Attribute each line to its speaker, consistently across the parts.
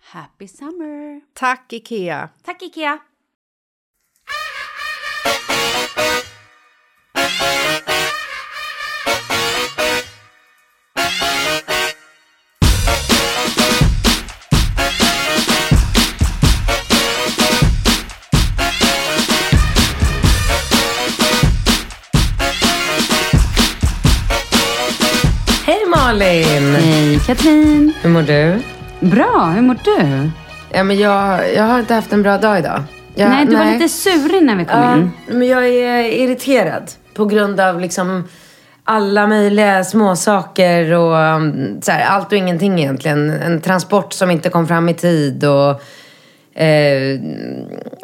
Speaker 1: Happy summer!
Speaker 2: Tack, Ikea.
Speaker 1: Tack Ikea!
Speaker 3: Hej Malin!
Speaker 1: Hej Katrin!
Speaker 3: Hur mår du?
Speaker 1: Bra, hur mår du?
Speaker 3: Ja, men jag, jag har inte haft en bra dag idag. Jag,
Speaker 1: nej, du var lite surig när vi kom
Speaker 3: Ja,
Speaker 1: in.
Speaker 3: men jag är irriterad på grund av liksom alla möjliga småsaker och mm, så här, allt och ingenting egentligen. En transport som inte kom fram i tid och eh,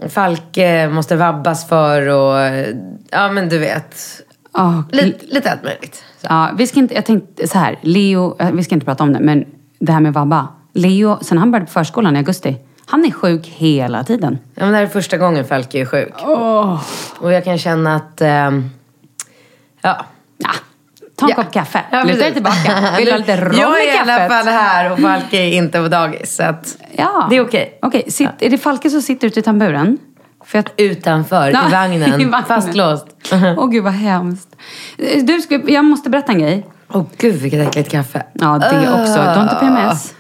Speaker 3: Falke måste vabbas för och eh, ja men du vet.
Speaker 1: Ja,
Speaker 3: Lite, lite allt möjligt.
Speaker 1: Ja, vi ska inte, jag tänkte så här, Leo, eh, vi ska inte prata om det, men det här med vabba. Leo, sen han började på förskolan i augusti, han är sjuk hela tiden.
Speaker 3: Ja, men det här är första gången Falke är sjuk.
Speaker 1: Åh!
Speaker 3: Och jag kan känna att, ehm, ja.
Speaker 1: Ja, ta en
Speaker 3: Ja.
Speaker 1: kopp kaffe,
Speaker 3: Ja,
Speaker 1: luta dig
Speaker 3: precis.
Speaker 1: tillbaka. Vill du ha lite rom
Speaker 3: Jag är
Speaker 1: i
Speaker 3: i alla fall
Speaker 1: kaffet?
Speaker 3: här och Falke är inte på dagis. Så att
Speaker 1: Ja.
Speaker 3: det är okej.
Speaker 1: Okej, sitt, är det Falke som sitter ute i tamburen? För jag,
Speaker 3: Utanför,
Speaker 1: Ja,
Speaker 3: i vagnen, fastlåst.
Speaker 1: Åh gud vad hemskt. Eh, Du, ska, jag måste berätta en grej.
Speaker 3: Åh gud vilket äckligt kaffe.
Speaker 1: Ja, det
Speaker 3: Uh.
Speaker 1: också. Du har inte PMS?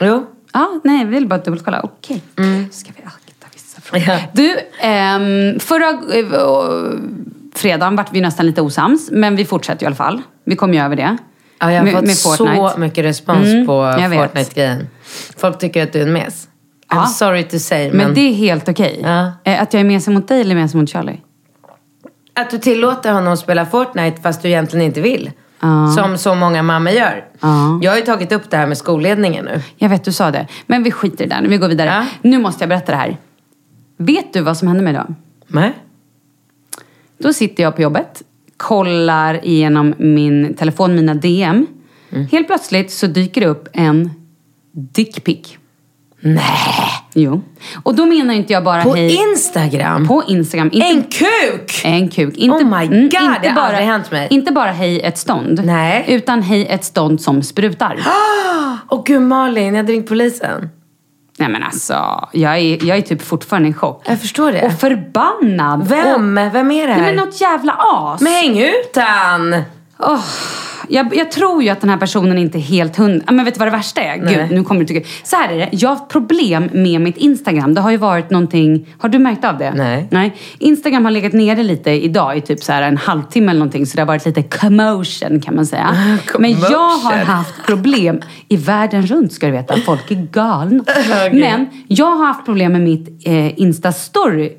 Speaker 3: Jo.
Speaker 1: Ja, nej, vi vill bara dubbelkolla. Okej. Ska vi akta vissa frågor.
Speaker 3: Mm. Ja.
Speaker 1: Du, ehm, förra eh, fredagen vart vi nästan lite osams, men vi fortsätter ju i alla fall. Vi kom ju över det.
Speaker 3: Ja, jag har fått så mycket respons
Speaker 1: Mm,
Speaker 3: på
Speaker 1: jag vet.
Speaker 3: Fortnite-grejen. Folk tycker att du är en mes. I'm
Speaker 1: Ja.
Speaker 3: sorry to say, men,
Speaker 1: Men det är helt okej.
Speaker 3: Ja.
Speaker 1: Eh, Att jag är mesig mot dig eller mesig mot Charlie?
Speaker 3: att du tillåter honom att spela Fortnite fast du egentligen inte vill.
Speaker 1: Ja.
Speaker 3: Som så många mammor gör.
Speaker 1: Ja.
Speaker 3: Jag har ju tagit upp det här med skolledningen nu.
Speaker 1: Jag vet, du sa det. Men vi skiter i det där nu. Vi går vidare.
Speaker 3: Ja.
Speaker 1: Nu måste jag berätta det här. Vet du vad som hände mig idag?
Speaker 3: Nej.
Speaker 1: Då sitter jag på jobbet, kollar igenom min telefon, mina DM.
Speaker 3: Mm.
Speaker 1: Helt plötsligt så dyker det upp en dickpic.
Speaker 3: Nej.
Speaker 1: Jo. Och då menar inte jag bara
Speaker 3: På
Speaker 1: hej.
Speaker 3: Instagram?
Speaker 1: på Instagram. Inte,
Speaker 3: En kuk!
Speaker 1: en kuk. Inte,
Speaker 3: Oh my
Speaker 1: mm,
Speaker 3: God, det har aldrig hänt mig.
Speaker 1: Inte bara hej ett stånd.
Speaker 3: Nej.
Speaker 1: Utan hej ett stånd som sprutar.
Speaker 3: Åh gud Malin, jag hade ringt polisen.
Speaker 1: Nej men alltså, jag är, jag är typ fortfarande i chock.
Speaker 3: Jag förstår det.
Speaker 1: Och förbannad. Och,
Speaker 3: Vem? Vem är det här?
Speaker 1: nej men något jävla as.
Speaker 3: Men häng ut han!
Speaker 1: Åh, jag, jag tror ju att den här personen inte är helt hundra. Ah, Men vet du vad det värsta är?
Speaker 3: Nej.
Speaker 1: Gud, nu kommer du tycka... Så här är det, jag har haft problem med mitt Instagram. Det har ju varit någonting... Har du märkt av det?
Speaker 3: Nej.
Speaker 1: Nej. Instagram har legat nere lite idag i typ så här en halvtimme eller någonting. Så det har varit lite commotion kan man säga. Men jag har
Speaker 3: Ah, commotion.
Speaker 1: haft problem i världen runt ska du veta. Folk är galna.
Speaker 3: Okej.
Speaker 1: Men jag har haft problem med mitt eh, Insta-story.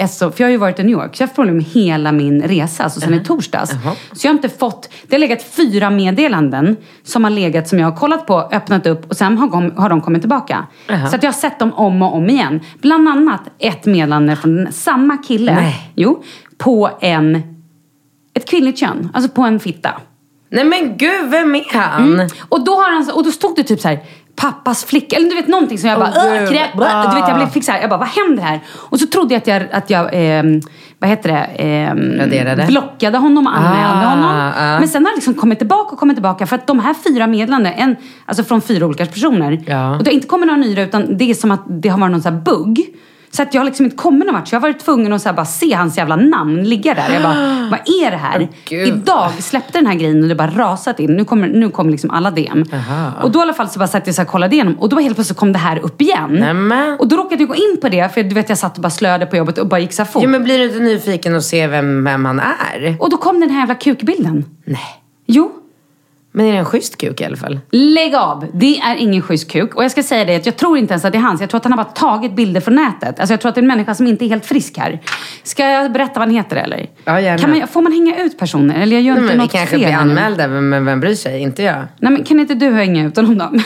Speaker 1: Alltså, för jag har ju varit i New York, så jag har haft problem med hela min resa, alltså sen i torsdags. Så jag har inte fått, det har legat fyra meddelanden som har legat, som jag har kollat på, öppnat upp och sen har, kom, har de kommit tillbaka. Så att jag har sett dem om och om igen. Bland annat ett meddelande från samma kille,
Speaker 3: Nej.
Speaker 1: jo, på en, ett kvinnligt kön, alltså på en fitta.
Speaker 3: Nej men gud, vem är han?
Speaker 1: Och då, har han, så- och då stod det typ så här pappas flicka, eller du vet någonting som jag bara,
Speaker 3: Åh,
Speaker 1: "Åh,
Speaker 3: gud.
Speaker 1: kräp, bra." du vet jag blev, fick så här, jag bara vad händer här? Och så trodde jag att jag, att jag ehm, vad heter det, ehm,
Speaker 3: Raderade.
Speaker 1: blockade honom och anmälde
Speaker 3: Ah,
Speaker 1: honom.
Speaker 3: ah.
Speaker 1: Men sen har det liksom kommit tillbaka och kommit tillbaka för att de här fyra meddelandena, en, alltså från fyra olika personer,
Speaker 3: Ja.
Speaker 1: och det har inte kommit några nya utan det är som att det har varit någon så här bugg. Så att jag har liksom inte kommit någon vart. Så jag har varit tvungen att så här bara se hans jävla namn ligga där. Jag bara, vad är det här?
Speaker 3: Gud.
Speaker 1: Idag dag släppte den här grejen och det bara rasat in. Nu kommer, nu kommer liksom alla DM. Och då i alla fall så bara satt jag så här och kollade igenom och då helt plötsligt kom det här upp igen.
Speaker 3: Nämen.
Speaker 1: Och då råkade jag gå in på det för du vet jag satt och bara slöade på jobbet och bara gick så här fort.
Speaker 3: Jo men blir du inte nyfiken och se vem, vem han är?
Speaker 1: Och då kom den här jävla kukbilden.
Speaker 3: Nej.
Speaker 1: Jo.
Speaker 3: Men är det en schysst kuk i alla fall?
Speaker 1: Lägg av! Det är ingen schysst kuk. Och jag ska säga det att jag tror inte ens att det är hans. Jag tror att han har bara tagit bilder från nätet. Alltså jag tror att det är en människa som inte är helt frisk här. Ska jag berätta vad han heter eller?
Speaker 3: Ja, gärna.
Speaker 1: Kan man, får man hänga ut personer? Eller jag gör
Speaker 3: Nej,
Speaker 1: inte
Speaker 3: men vi
Speaker 1: något
Speaker 3: kanske
Speaker 1: fel
Speaker 3: blir
Speaker 1: här nu.
Speaker 3: anmälda, men men vem bryr sig? Inte jag.
Speaker 1: Nej men kan inte du hänga ut honom då?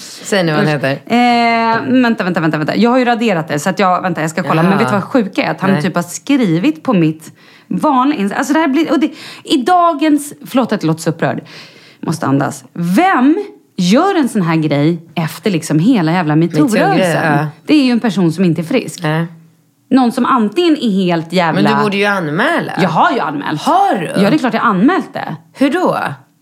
Speaker 3: Säg nu vad han heter.
Speaker 1: Eh, vänta, vänta, vänta, vänta. Jag har ju raderat det så att jag, vänta jag ska kolla.
Speaker 3: Ja.
Speaker 1: Men vet du vad sjuka är? Att han
Speaker 3: Nej.
Speaker 1: typ har skrivit på mitt vanliga Insta- Alltså det här blir, och det, i dagens, förlåt att jag låter så upprörd. Måste andas. Vem gör en sån här grej efter liksom hela jävla metoo-rörelsen?
Speaker 3: Metoo-grej, ja.
Speaker 1: Det är ju en person som inte är frisk.
Speaker 3: Nej.
Speaker 1: Någon som antingen är helt jävla...
Speaker 3: Men du borde ju anmäla.
Speaker 1: Jag har ju anmält.
Speaker 3: Har du?
Speaker 1: Ja, det är klart jag har anmält det.
Speaker 3: Hur då?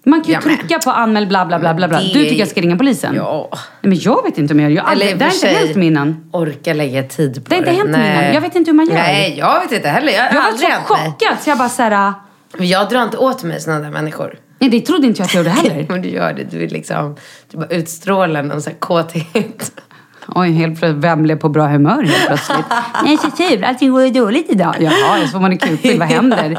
Speaker 1: Man kan ju
Speaker 3: Ja, men-
Speaker 1: trycka på anmäl bla bla bla bla. bla.
Speaker 3: Men
Speaker 1: Du
Speaker 3: det
Speaker 1: tycker
Speaker 3: är-
Speaker 1: jag ska ringa polisen?
Speaker 3: Ja.
Speaker 1: Nej, men jag vet inte om jag gör. Jag har aldrig-
Speaker 3: i och
Speaker 1: Det har
Speaker 3: för
Speaker 1: inte
Speaker 3: sig
Speaker 1: hänt mig innan.
Speaker 3: Orka lägga tid på det.
Speaker 1: Det har inte hänt mig
Speaker 3: Nej.
Speaker 1: innan. Jag vet inte hur man gör.
Speaker 3: Nej, jag vet inte heller. Jag har
Speaker 1: Jag var
Speaker 3: aldrig
Speaker 1: så
Speaker 3: hänt mig.
Speaker 1: chockad så jag bara såhär,
Speaker 3: Men Jag drar inte åt mig sådana där människor.
Speaker 1: nej det trodde inte jag att jag gjorde heller.
Speaker 3: Men du gör det. Du är liksom, du bara utstrålar någon sån här kåthet.
Speaker 1: Oj, helt plötsligt, vem blev på bra humör helt plötsligt? Jag är så sur, allting går ju dåligt idag. Jaha, så får man en kukbild, vad händer?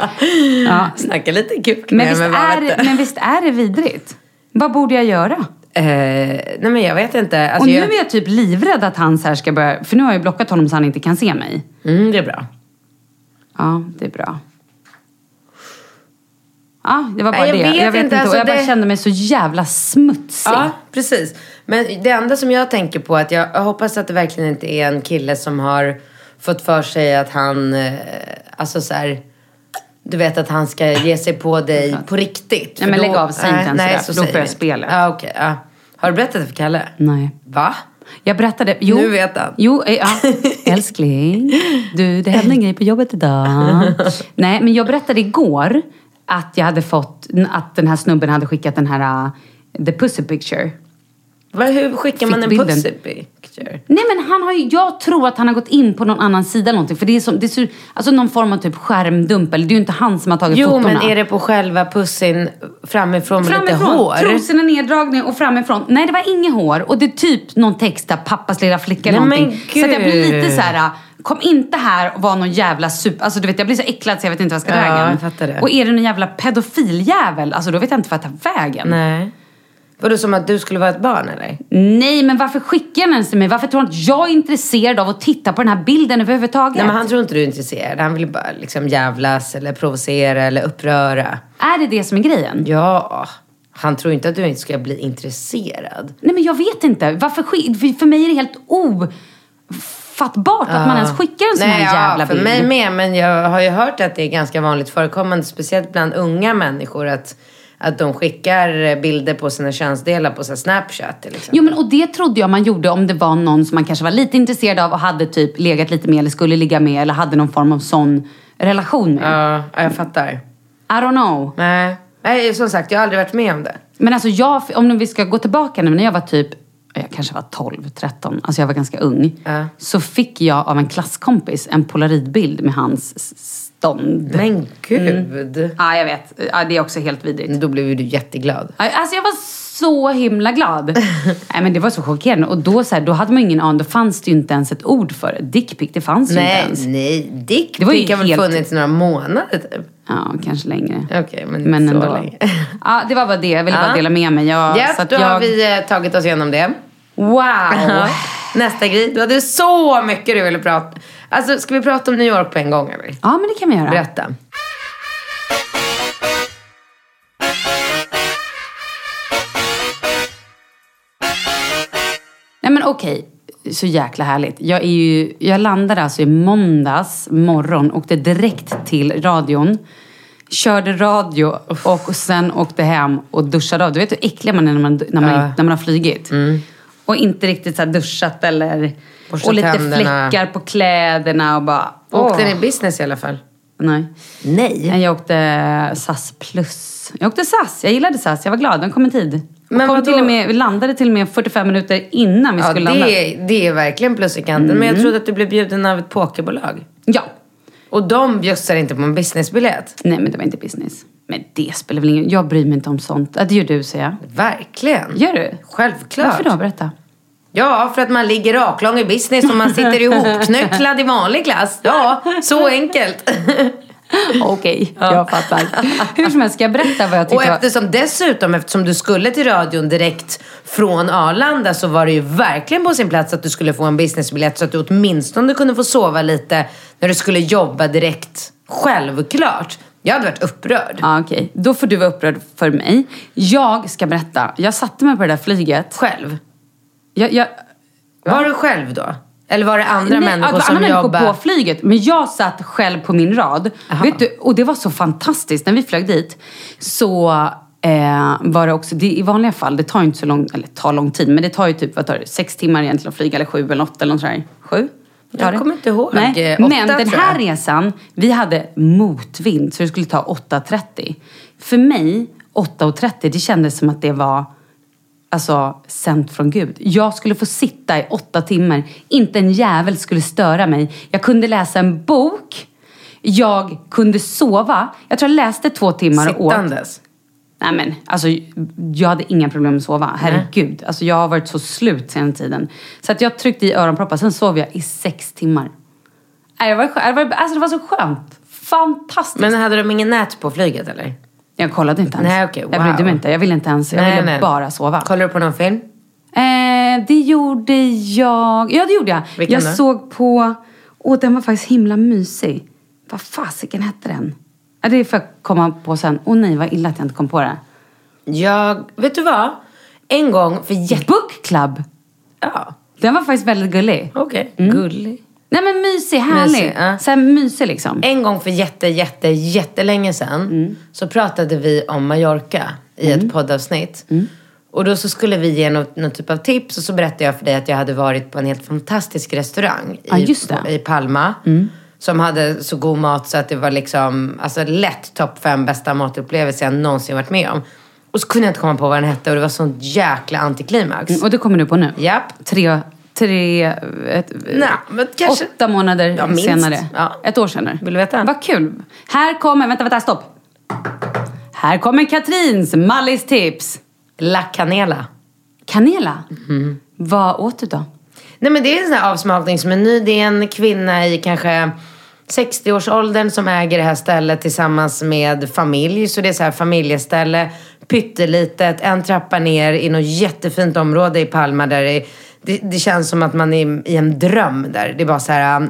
Speaker 1: Ja.
Speaker 3: Snacka lite kuk
Speaker 1: Men,
Speaker 3: med,
Speaker 1: visst
Speaker 3: vad vet
Speaker 1: är, det-
Speaker 3: jag?
Speaker 1: men visst är det vidrigt? Vad borde jag göra?
Speaker 3: Eh, nej men jag vet inte. Alltså,
Speaker 1: Och nu
Speaker 3: jag...
Speaker 1: är jag typ livrädd att han så här ska börja, för nu har jag blockat honom så han inte kan se mig.
Speaker 3: Mm, det är bra.
Speaker 1: Ja, det är bra. Ja, det var bara
Speaker 3: Nej, jag
Speaker 1: det.
Speaker 3: vet
Speaker 1: jag vet
Speaker 3: inte,
Speaker 1: inte. och
Speaker 3: alltså
Speaker 1: jag bara
Speaker 3: det-
Speaker 1: kände mig så jävla smutsig.
Speaker 3: Ja, precis. Men det enda som jag tänker på är att jag, jag hoppas att det verkligen inte är en kille som har fått för sig att han, eh, alltså så här, du vet att han ska ge sig på dig på riktigt.
Speaker 1: Nej,
Speaker 3: För
Speaker 1: men
Speaker 3: då-
Speaker 1: lägg av, säg inte ens det där, för då
Speaker 3: säger
Speaker 1: får jag
Speaker 3: vi inte.
Speaker 1: spelet.
Speaker 3: Ja, okej. ja. Har du berättat det för Kalle?
Speaker 1: Nej.
Speaker 3: Va?
Speaker 1: Jag berättade... Jo,
Speaker 3: Nu vet han.
Speaker 1: Jo, eh, ja. Älskling, du, det hände en grej på jobbet idag. Nej, men jag berättade igår att jag hade fått... Att den här snubben hade skickat den här... eh, The Pussy Picture.
Speaker 3: Vad- hur skickar man en
Speaker 1: Fick bilden.
Speaker 3: pussy picture?
Speaker 1: Nej men han har ju, jag tror att han har gått in på någon annan sida eller någonting. För det är, som, det är så, alltså någon form av typ skärmdump. Eller det är ju inte han som har tagit
Speaker 3: Jo,
Speaker 1: fotona.
Speaker 3: men är det på själva pussin framifrån med lite
Speaker 1: Framifrån,
Speaker 3: hår?
Speaker 1: trosorna neddragning och framifrån. Nej, det var inget hår. Och det är typ någon text där, pappas lilla flicka eller
Speaker 3: Nej, men
Speaker 1: någonting. Så att jag blir lite
Speaker 3: gud.
Speaker 1: så här. kom inte här och var någon jävla super... Alltså du vet, jag blir så äcklad så jag vet inte vad jag ska ta
Speaker 3: Ja,
Speaker 1: vägen.
Speaker 3: jag fattar det.
Speaker 1: Och är det någon jävla pedofiljävel, alltså då vet jag inte vad jag tar vägen.
Speaker 3: Nej. Var det som att du skulle vara ett barn eller?
Speaker 1: Nej, men varför skickar han ens till mig? Varför tror han att jag är intresserad av att titta på den här bilden överhuvudtaget?
Speaker 3: Nej men han tror inte du är intresserad. Han vill bara liksom jävlas eller provocera eller uppröra.
Speaker 1: Är det det som är grejen?
Speaker 3: Ja, han tror inte att du inte ska bli intresserad.
Speaker 1: Nej men jag vet inte. Varför skick... för- För mig är det helt ofattbart att man ens skickar en sån
Speaker 3: Ah. Nej,
Speaker 1: här jävla
Speaker 3: ja, för
Speaker 1: bild.
Speaker 3: mig med. Men jag har ju hört att det är ganska vanligt förekommande, speciellt bland unga människor, att, att de skickar bilder på sina könsdelar på så här Snapchat liksom. till exempel.
Speaker 1: Jo men och det trodde jag man gjorde om det var någon som man kanske var lite intresserad av och hade typ legat lite med eller skulle ligga med eller hade någon form av sån relation med.
Speaker 3: Ja, ja, jag fattar.
Speaker 1: I don't know.
Speaker 3: Nej. Nej, som sagt, jag har aldrig varit med om det.
Speaker 1: Men alltså jag, om vi ska gå tillbaka nu, när jag var typ, jag kanske var 12, 13, alltså jag var ganska ung.
Speaker 3: Ja.
Speaker 1: Så fick jag av en klasskompis en polaroidbild med hans s- stånd.
Speaker 3: Men gud.
Speaker 1: Ja, jag vet. Ja, det är också helt vidrigt.
Speaker 3: Mm. Då blev ju du jätteglad.
Speaker 1: Ja, Alltså jag var så himla glad. Nej men det var så chockerande. Och då, så här, då hade man ju ingen aning, då fanns det ju inte ens ett ord för det. Dickpick, det fanns ju inte
Speaker 3: Nej,
Speaker 1: ens.
Speaker 3: nej. Dick
Speaker 1: Det var ju
Speaker 3: Dick har väl
Speaker 1: helt-
Speaker 3: funnits några månader typ.
Speaker 1: Ja, kanske längre.
Speaker 3: Okej, men inte så länge.
Speaker 1: Ja, det var bara det. Jag ville bara
Speaker 3: Ja.
Speaker 1: dela med mig. Jag,
Speaker 3: Ja,
Speaker 1: så att
Speaker 3: då har
Speaker 1: jag...
Speaker 3: vi eh, tagit oss igenom det.
Speaker 1: Wow!
Speaker 3: Ja. Nästa grej. Du hade så mycket du ville prata Alltså, ska vi prata om New York på en gång eller?
Speaker 1: Ja, men det kan vi göra.
Speaker 3: Berätta.
Speaker 1: Nej men okej, så jäkla härligt. Jag, är ju, jag landade alltså i måndags morgon, åkte direkt till radion. Körde radio och sen åkte hem och duschade av. Du vet hur äcklig man är när man, när man, när man har flygit.
Speaker 3: Mm.
Speaker 1: Och inte riktigt så här duschat eller...
Speaker 3: Borstat
Speaker 1: Och lite
Speaker 3: tänderna.
Speaker 1: fläckar på kläderna och bara...
Speaker 3: Åkte
Speaker 1: åh.
Speaker 3: ni business i alla fall?
Speaker 1: Nej.
Speaker 3: Nej.
Speaker 1: Nej, Jag åkte SAS plus. Jag åkte SAS. Jag gillade SAS. Jag var glad. De kom i tid.
Speaker 3: Men
Speaker 1: Men kom
Speaker 3: vadå?
Speaker 1: till och med, vi landade till och med 45 minuter innan vi
Speaker 3: Ja,
Speaker 1: skulle landa. Mm.
Speaker 3: det, är- det är verkligen plus i kanten. Men jag trodde att du blev bjuden av ett pokerbolag.
Speaker 1: Ja,
Speaker 3: Och de bjussar inte på en businessbiljett.
Speaker 1: Nej, men det var inte business. Men det spelar väl ingen Jag bryr mig inte om sånt. Ja, det gör du, säger jag.
Speaker 3: Verkligen.
Speaker 1: Gör du?
Speaker 3: Självklart.
Speaker 1: Varför då? Berätta.
Speaker 3: Ja, för att man ligger raklång i business och man sitter ihopknucklad i vanlig klass. Ja, så enkelt.
Speaker 1: Okej, jag fattar. Hur som helst, ska jag berätta vad jag
Speaker 3: Och
Speaker 1: tyckte var...
Speaker 3: eftersom dessutom, eftersom du skulle till radion direkt från Arlanda så var det ju verkligen på sin plats att du skulle få en businessbiljett så att du åtminstone kunde få sova lite när du skulle jobba direkt. Självklart. Jag hade varit upprörd.
Speaker 1: Ja, okej. Då får du vara upprörd för mig. Jag ska berätta. Jag satte mig på det där flyget.
Speaker 3: Själv.
Speaker 1: Jag, jag,
Speaker 3: Var du själv då? Eller var det andra
Speaker 1: Nej,
Speaker 3: människor
Speaker 1: ja,
Speaker 3: som
Speaker 1: andra människor
Speaker 3: jobbade?
Speaker 1: på flyget. Men jag satt själv på min rad. Vet du, och det var så fantastiskt. När vi flög dit så eh, var det också, det, i vanliga fall, det tar ju inte så lång, eller tar lång tid, men det tar ju typ vad tar det, sex timmar egentligen att flyga, eller sju eller åtta eller något sådär. Sju? Vad tar
Speaker 3: Jag
Speaker 1: det?
Speaker 3: kommer inte ihåg.
Speaker 1: Nej.
Speaker 3: Eh, åtta,
Speaker 1: men den
Speaker 3: tror jag.
Speaker 1: här resan, vi hade motvind så det skulle ta 8.30. För mig, 8.30, det kändes som att det var alltså, sänt från Gud. Jag skulle få sitta i åtta timmar, inte en jävel skulle störa mig. Jag kunde läsa en bok, jag kunde sova. Jag tror jag läste två timmar och åt.
Speaker 3: Sittandes.
Speaker 1: Nej men, alltså jag hade inga problem med att sova. Herregud. Alltså jag har varit så slut sen tiden. Så att jag tryckte i öronproppar, sen sov jag i sex timmar. Nej, det, var, skö- det var- alltså, det var så skönt. Fantastiskt.
Speaker 3: Men hade de ingen nät på flyget eller?
Speaker 1: jag kollade inte ens.
Speaker 3: Nej, okej,
Speaker 1: Jag brydde
Speaker 3: wow.
Speaker 1: mig inte. Jag ville inte ens. Jag
Speaker 3: Nej,
Speaker 1: ville
Speaker 3: nej.
Speaker 1: bara sova.
Speaker 3: Kollar du på någon film?
Speaker 1: Eh, det gjorde jag. Ja, det gjorde jag.
Speaker 3: Vilken
Speaker 1: jag
Speaker 3: då?
Speaker 1: såg på... Åh, den var faktiskt himla mysig. Vad fasiken hette den? Ja, det får jag komma på sen. Åh nej, vad illa att jag inte kom på det.
Speaker 3: Jag... Vet du vad? En gång för jätte...
Speaker 1: Book Club.
Speaker 3: Ja,
Speaker 1: Den var faktiskt väldigt gullig.
Speaker 3: okej.
Speaker 1: Mm.
Speaker 3: Gullig.
Speaker 1: Nej men mysig, härlig.
Speaker 3: Mysig, ja.
Speaker 1: Så här mysig liksom.
Speaker 3: En gång för jätte, jätte, jättelänge sedan
Speaker 1: Mm.
Speaker 3: så pratade vi om Mallorca i ett poddavsnitt.
Speaker 1: Mm.
Speaker 3: Och då så skulle vi ge något, någon typ av tips och så berättade jag för dig att jag hade varit på en helt fantastisk restaurang
Speaker 1: Ja,
Speaker 3: i,
Speaker 1: just det. Mm.
Speaker 3: i Palma. Som hade så god mat så att det var liksom, alltså lätt topp fem bästa matupplevelser jag någonsin varit med om. Och så kunde jag inte komma på vad den hette och det var sånt jäkla antiklimax.
Speaker 1: Mm, Och det kommer du på nu?
Speaker 3: Japp.
Speaker 1: Tre, tre, ett,
Speaker 3: Nej, men kanske-
Speaker 1: åtta månader
Speaker 3: Ja, minst.
Speaker 1: senare.
Speaker 3: Ja.
Speaker 1: Ett år senare.
Speaker 3: Vill du veta?
Speaker 1: Vad kul. Här kommer, vänta, vänta, stopp. Här kommer Katrins Mallis tips.
Speaker 3: La Canela.
Speaker 1: Kanela.
Speaker 3: Mhm.
Speaker 1: Vad åt du då?
Speaker 3: Nej men det är en sån här avsmakningsmeny. Det är en kvinna i kanske 60-årsåldern som äger det här stället tillsammans med familj. Så det är så här familjeställe. pyttelitet, en trappa ner i något jättefint område i Palma där det, det, det känns som att man är i en dröm där. Det är bara så här um,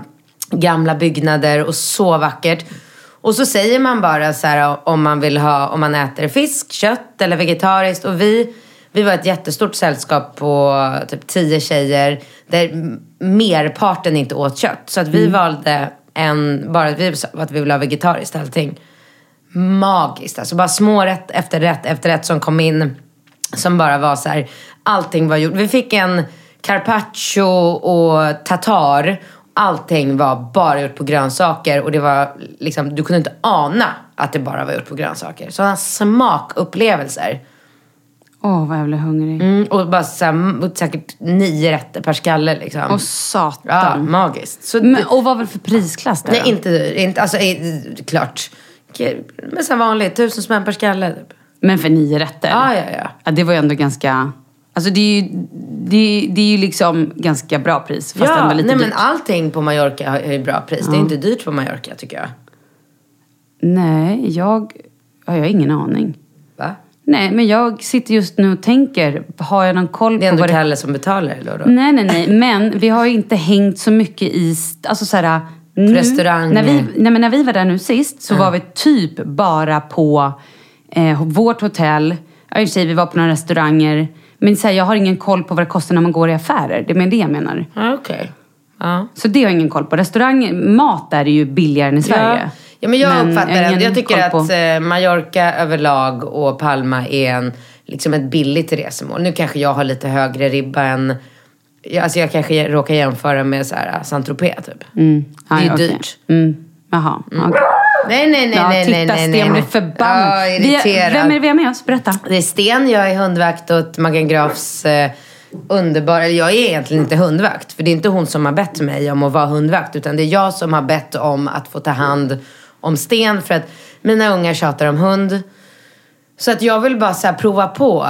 Speaker 3: gamla byggnader och så vackert. Och så säger man bara så här om man vill ha, om man äter fisk, kött eller vegetariskt. Och vi, vi var ett jättestort sällskap på typ tio tjejer där merparten inte åt kött. Så att vi valde en, bara att vi sa att vi ville ha vegetariskt allting magiskt. Alltså bara små rätt efter rätt efter rätt som kom in. Som bara var så här, allting var gjort. Vi fick en carpaccio och tatar. Allting var bara gjort på grönsaker och det var liksom, du kunde inte ana att det bara var gjort på grönsaker. Sådana smakupplevelser.
Speaker 1: Åh, vad jag blev hungrig.
Speaker 3: Mm, och bara så här, m- säkert nio rätter per skalle liksom.
Speaker 1: Åh,
Speaker 3: ja,
Speaker 1: satan. Mm.
Speaker 3: magiskt. Så
Speaker 1: Men, och vad var det för prisklass där
Speaker 3: Nej,
Speaker 1: då?
Speaker 3: inte, inte alltså, i- klart. Okej, Men som vanligt, tusen spänn per skalle. Typ.
Speaker 1: Men för nio rätter?
Speaker 3: Ja, ja, ja.
Speaker 1: Ja, det var ju ändå ganska... Alltså det är ju, det är, det är ju liksom ganska bra pris, fast
Speaker 3: ja,
Speaker 1: ändå lite
Speaker 3: nej,
Speaker 1: dyrt. Mm.
Speaker 3: men allting på Mallorca har har ju bra pris. Det är inte dyrt på Mallorca tycker jag.
Speaker 1: Nej, jag... Ja, jag har ingen aning.
Speaker 3: Va?
Speaker 1: Nej, men jag sitter just nu och tänker, har jag någon koll
Speaker 3: Det är
Speaker 1: på
Speaker 3: ändå
Speaker 1: vad det... Mm.
Speaker 3: Kalle som betalar eller då?
Speaker 1: Nej, nej, nej. Men vi har ju inte hängt så mycket i... st- Alltså så här, nu,
Speaker 3: Restaurang.
Speaker 1: När vi, nej, men när vi var där nu sist så var vi typ bara på eh, vårt hotell. Ja, i och för sig, vi var på några restauranger. Men så här, jag har ingen koll på vad det kostar när man går i affärer. Det är mer det jag menar.
Speaker 3: Ja, okej. Ja.
Speaker 1: Så det har jag ingen koll på. Restaurang, mat där är ju billigare än i Sverige.
Speaker 3: Ja. ja, men jag
Speaker 1: Men
Speaker 3: uppfattar
Speaker 1: har
Speaker 3: jag,
Speaker 1: ingen
Speaker 3: jag tycker
Speaker 1: koll
Speaker 3: att eh, Mallorca överlag och Palma är en, liksom ett billigt resemål. Nu kanske jag har lite högre ribba än... Jag, alltså jag kanske råkar jämföra med så här, Saint-Tropez typ.
Speaker 1: Ja,
Speaker 3: det är ju
Speaker 1: okej.
Speaker 3: dyrt.
Speaker 1: Mm. Jaha. okej.
Speaker 3: Nej, nej, nej,
Speaker 1: ja,
Speaker 3: nej,
Speaker 1: titta,
Speaker 3: nej, nej, nej.
Speaker 1: Sten
Speaker 3: nej.
Speaker 1: blir förbannad.
Speaker 3: Ja,
Speaker 1: Vi-
Speaker 3: irriterad.
Speaker 1: vem är det vi har med oss? Berätta.
Speaker 3: Det är Sten, jag är hundvakt åt Magan Grafs eh, underbara... Eller jag är egentligen inte hundvakt. För det är inte hon som har bett mig om att vara hundvakt. Utan det är jag som har bett om att få ta hand om Sten. För att mina ungar tjatar om hund. Så att jag vill bara så här prova på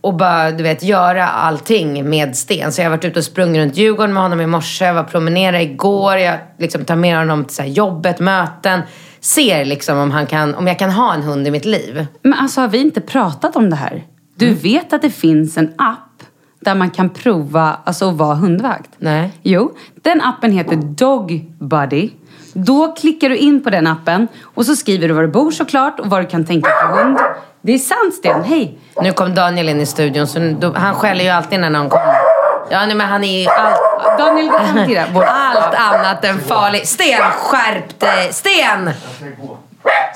Speaker 3: och bara du vet göra allting med Sten. Så jag har varit ute och sprungit runt Djurgården med honom i morse, jag var och promenerade igår, jag liksom tar med honom till så här jobbet, möten. Ser liksom om, han kan, om jag kan ha en hund i mitt liv.
Speaker 1: Men alltså har vi inte pratat om det här? Du
Speaker 3: Mm.
Speaker 1: vet att det finns en app där man kan prova alltså, att vara hundvakt?
Speaker 3: Nej.
Speaker 1: Jo, den appen heter Dog Buddy. Då klickar du in på den appen och så skriver du var du bor såklart och vad du kan tänka på hund. Det är sant Sten, hej!
Speaker 3: Nu kom Daniel in i studion, så nu- då, han skäller ju alltid när någon kommer. Ja, nej, men han är ju allt,
Speaker 1: Daniel, gå fram till det. Vår-
Speaker 3: allt annat än farlig. Sten, skärp dig! Sten!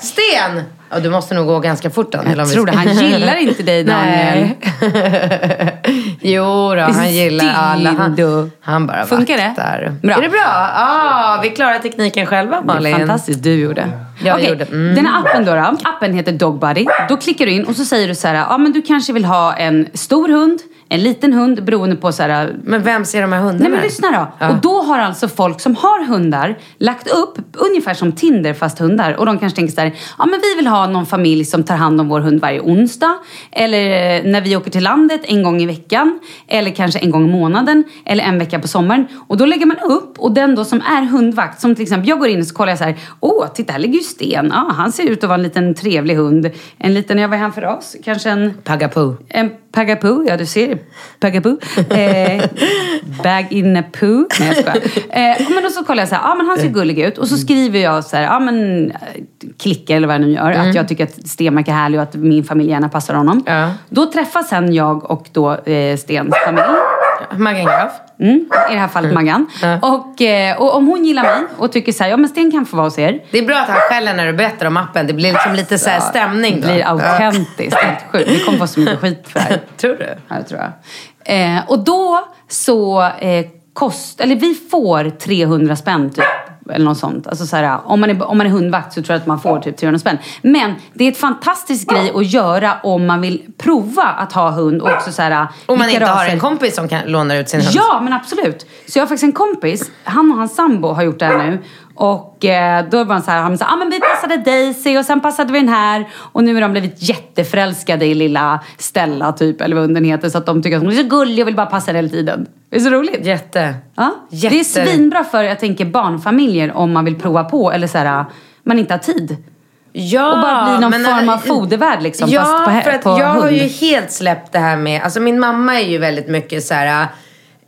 Speaker 3: Sten! Ja, du måste nog gå ganska fort Daniel. om
Speaker 1: Jag
Speaker 3: vi
Speaker 1: tror det.
Speaker 3: ska-
Speaker 1: Han gillar inte dig Daniel.
Speaker 3: Nej. jo då, han gillar alla. Han, han bara
Speaker 1: Funkar det?
Speaker 3: vaktar.
Speaker 1: Bra.
Speaker 3: Är det bra? Ja, vi klarar tekniken själva Malin.
Speaker 1: Fantastiskt du gjorde.
Speaker 3: Jag
Speaker 1: Okej,
Speaker 3: gjorde, mm.
Speaker 1: Den här appen då, då, appen heter Dogbody. Då klickar du in och så säger du så här, ja men du kanske vill ha en stor hund, en liten hund beroende på så här
Speaker 3: Men vem ser de här hundarna?
Speaker 1: Nej men lyssna då. Och då har alltså folk som har hundar lagt upp ungefär som Tinder fast hundar. Och de kanske tänker så här, ja men vi vill ha någon familj som tar hand om vår hund varje onsdag. Eller eh, när vi åker till landet en gång i veckan. Eller kanske en gång i månaden. Eller en vecka på sommaren. Och då lägger man upp och den då som är hundvakt, som till exempel jag går in och så kollar jag så här, åh titta här ligger ju Sten. Ja, han ser ut att vara en liten trevlig hund. En liten, ja vad är han för ras? Kanske en
Speaker 3: Pagapoo.
Speaker 1: en pagapoo, ja du ser. Pagapoo. Eh, bag in a poo. Nej jag skojar. Eh, men och så kollar jag så här, ja ah, men han ser
Speaker 3: Eh.
Speaker 1: gullig ut. Och så
Speaker 3: Mm.
Speaker 1: skriver jag så här, ja ah, men eh, klickar eller vad jag nu gör. Att jag tycker att Stenmark är härlig och att min familj gärna passar honom.
Speaker 3: Mm. Ja.
Speaker 1: Då träffas sen jag och då eh, Stens familj.
Speaker 3: Maggan Graf.
Speaker 1: Mm, I det här fallet Maggan. Och, eh, och om hon gillar mig och tycker så här, ja men Sten kan få vara hos er.
Speaker 3: Det är bra att han skäller när du berättar om appen. Det blir liksom lite så här stämning
Speaker 1: Alltså, Det
Speaker 3: då.
Speaker 1: blir autentiskt, helt sjukt. Vi kommer få så mycket skit för det här.
Speaker 3: Tror du?
Speaker 1: Ja, det tror jag. Eh, och då så eh, kost, eller vi får 300 spänn typ. Eller något sånt. Alltså så här, om, man är, om man är hundvakt så tror jag att man får typ 300 spänn. Men det är ett fantastisk grej att göra om man vill prova att ha hund och också så här,
Speaker 3: Om man
Speaker 1: vilka
Speaker 3: inte har
Speaker 1: raser-
Speaker 3: en kompis som kan, lånar ut sin hund.
Speaker 1: Ja, men absolut. Så jag har faktiskt en kompis, han och hans sambo har gjort det här nu. Och eh, då var han så här, han sa, ah, men vi passade Daisy och sen passade vi den här. Och nu har de blivit jätteförälskade i lilla Stella typ, eller vad hunden heter. Så att de tycker att hon är så gullig och vill bara passa den hela tiden. Det är så roligt.
Speaker 3: Jätte.
Speaker 1: Ja. Det är
Speaker 3: Jätte-
Speaker 1: svinbra för, jag tänker, barnfamiljer om man vill prova på eller så här, man inte har tid.
Speaker 3: Ja,
Speaker 1: Och bara bli någon
Speaker 3: men,
Speaker 1: form av
Speaker 3: äh,
Speaker 1: fodervärd liksom,
Speaker 3: ja,
Speaker 1: fast på hä-
Speaker 3: för att
Speaker 1: på
Speaker 3: jag har
Speaker 1: hund.
Speaker 3: ju helt släppt det här med, alltså min mamma är ju väldigt mycket så här.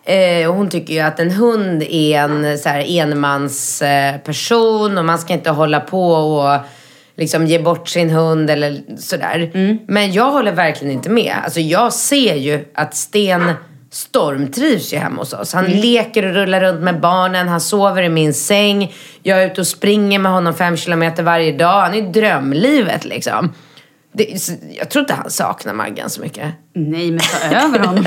Speaker 3: Eh, hon tycker ju att en hund är en så här, enmans eh, person och man ska inte hålla på och liksom ge bort sin hund eller sådär.
Speaker 1: Mm.
Speaker 3: Men jag håller verkligen inte med. Alltså jag ser ju att Sten Storm trivs ju hemma hos oss. Han
Speaker 1: Mm.
Speaker 3: leker och rullar runt med barnen, han sover i min säng. Jag är ute och springer med honom fem kilometer varje dag. Han är ju drömlivet liksom. Det, så jag tror inte han saknar Maggan så mycket.
Speaker 1: Nej, men ta över honom.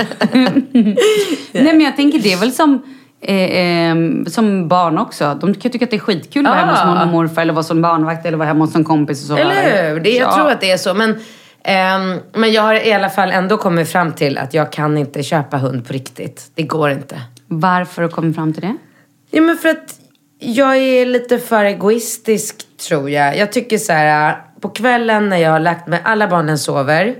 Speaker 1: Nej, men jag tänker det är väl som, eh, eh, som barn också. De kan tycka att det är skitkul att vara hemma hos
Speaker 3: Ja.
Speaker 1: mormor och morfar eller vara som barnvakt eller vara hemma hos en kompis och så.
Speaker 3: Ah. Eller hur? Det, jag
Speaker 1: Ja.
Speaker 3: tror att det är så. Men, ehm, men jag har i alla fall ändå kommit fram till att jag kan inte köpa hund på riktigt. Det går inte.
Speaker 1: Varför har du kommit fram till det?
Speaker 3: Ja, men för att jag är lite för egoistisk tror jag. Jag tycker så här, på kvällen när jag har lagt mig, alla barnen sover.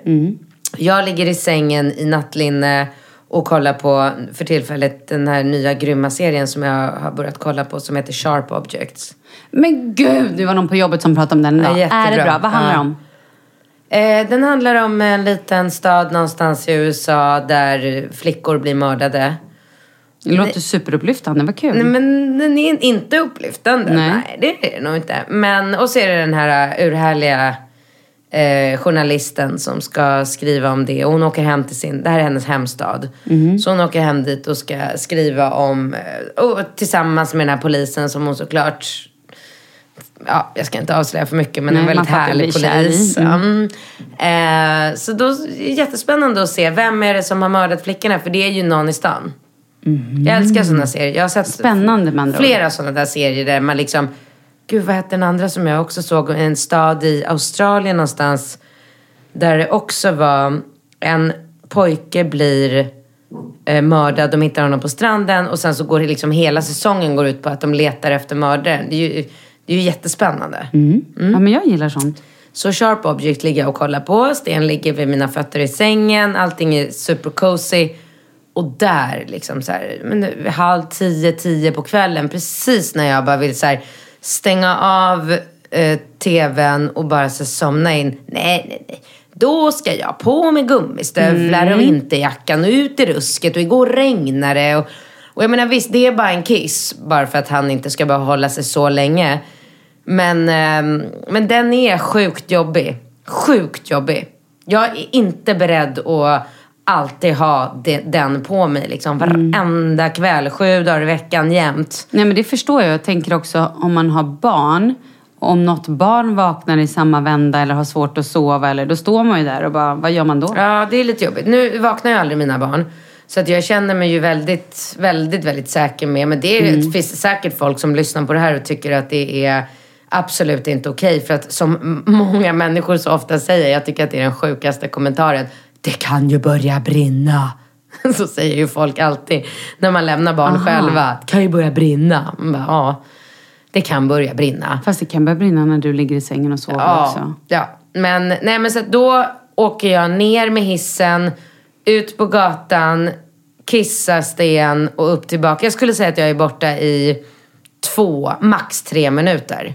Speaker 3: Jag ligger i sängen i nattlinne och kollar på, för tillfället, den här nya grymma serien som jag har börjat kolla på som heter Sharp Objects.
Speaker 1: Men gud, det var någon på jobbet som pratade om den idag.
Speaker 3: Ja,
Speaker 1: är det
Speaker 3: jättebra.
Speaker 1: bra? Vad handlar det
Speaker 3: Ja.
Speaker 1: om?
Speaker 3: Eh, den handlar om en liten stad någonstans i USA där flickor blir mördade.
Speaker 1: Det låter superupplyftande, vad kul.
Speaker 3: Nej, men den är inte upplyftande.
Speaker 1: Mm. Nej.
Speaker 3: Nej, det är det nog inte. Men, och så är det den här eh, urhärliga eh, journalisten som ska skriva om det. Och hon åker hem till sin, det här är hennes hemstad.
Speaker 1: Mm.
Speaker 3: Så hon åker hem dit och ska skriva om, eh, och tillsammans med den här polisen som hon såklart ja, jag ska inte avslöja för mycket, men
Speaker 1: Nej,
Speaker 3: en väldigt
Speaker 1: man fattar,
Speaker 3: härlig
Speaker 1: blir kär i.
Speaker 3: polis. Mm. Eh, så då, är det jättespännande att se, vem är det som har mördat flickorna? För det är ju någon i stan. Jag älskar sådana serier. Jag har sett
Speaker 1: Mm. Spännande med andra
Speaker 3: flera sådana där serier där man liksom, gud vad hette den andra som jag också såg? En stad i Australien någonstans. Där det också var en pojke blir eh, mördad, de hittar honom på stranden och sen så går det liksom hela säsongen går ut på att de letar efter mördaren. Det är ju, det är ju jättespännande. Mm.
Speaker 1: Ja, men jag gillar sånt.
Speaker 3: Så Sharp Object ligger jag och kollar på. Sten ligger vid mina fötter i sängen. Allting är super cozy. Och där liksom så här, men nu, halv tio, tio på kvällen. Precis när jag bara vill så här, stänga av eh, tvn och bara så somna in. Nej, nej, nej. Då ska jag på med gummistövlar och vinterjackan och ut i rusket och igår regnade det. Och, och jag menar visst, det är bara en kiss. Bara för att han inte ska behöva hålla sig så länge. Men, ehm, men den är sjukt jobbig. Sjukt jobbig. Jag är inte beredd att alltid ha de, den på mig. Liksom. Varenda kväll, sju dagar i veckan jämt.
Speaker 1: Nej, men det förstår jag. Jag tänker också om man har barn. Om något barn vaknar i samma vända eller har svårt att sova, eller, då står man ju där och bara, vad gör man då?
Speaker 3: Ja, det är lite jobbigt. Nu vaknar ju aldrig mina barn. Så att jag känner mig ju väldigt, väldigt, väldigt säker med. Men det är, finns säkert folk som lyssnar på det här och tycker att det är absolut inte okej. För att som m- många människor så ofta säger, jag tycker att det är den sjukaste kommentaren. Det kan ju börja brinna. Så säger ju folk alltid när man lämnar barn själva. Det kan ju börja brinna. Man bara, ja, det kan börja brinna.
Speaker 1: Fast det kan börja brinna när du ligger i sängen och sover också.
Speaker 3: Ja, men, nej, men så att då åker jag ner med hissen, ut på gatan, kissar sten och upp tillbaka. Jag skulle säga att jag är borta i två, max tre minuter.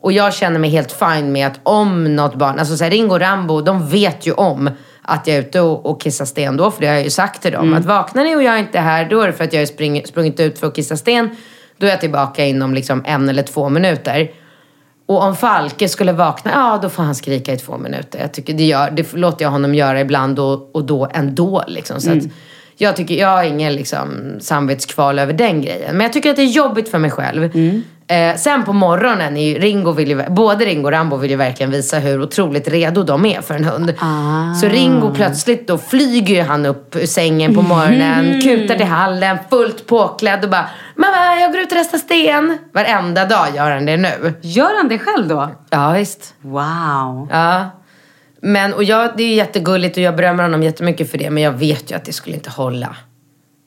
Speaker 3: Och jag känner mig helt fine med att om något barn, alltså så här, Ringo och Rambo, de vet ju om att jag är ute och, och kissar sten då, för det har jag ju sagt till dem. Att vaknar ni och jag är inte här, då är det för att jag har spring, sprungit ut för att kissa sten. Då är jag tillbaka inom liksom en eller två minuter. Och om Falke skulle vakna, ja då får han skrika i två minuter. Jag tycker det, gör, det låter jag honom göra ibland och, och då ändå. Liksom. Så att jag, tycker, jag har ingen liksom, samvetskval över den grejen. Men jag tycker att det är jobbigt för mig själv. Eh, sen på morgonen, är ju, Ringo vill ju, både Ringo och Rambo vill ju verkligen visa hur otroligt redo de är för en hund. Så Ringo plötsligt då flyger ju han upp ur sängen på morgonen, kutar till hallen, fullt påklädd och bara “Mamma, jag går ut och restar sten”. Varenda dag gör han det nu.
Speaker 1: Gör han det själv då?
Speaker 3: Ja, visst.
Speaker 1: Wow.
Speaker 3: Ja. Men, och jag, det är ju jättegulligt och jag berömmer honom jättemycket för det. Men jag vet ju att det skulle inte hålla.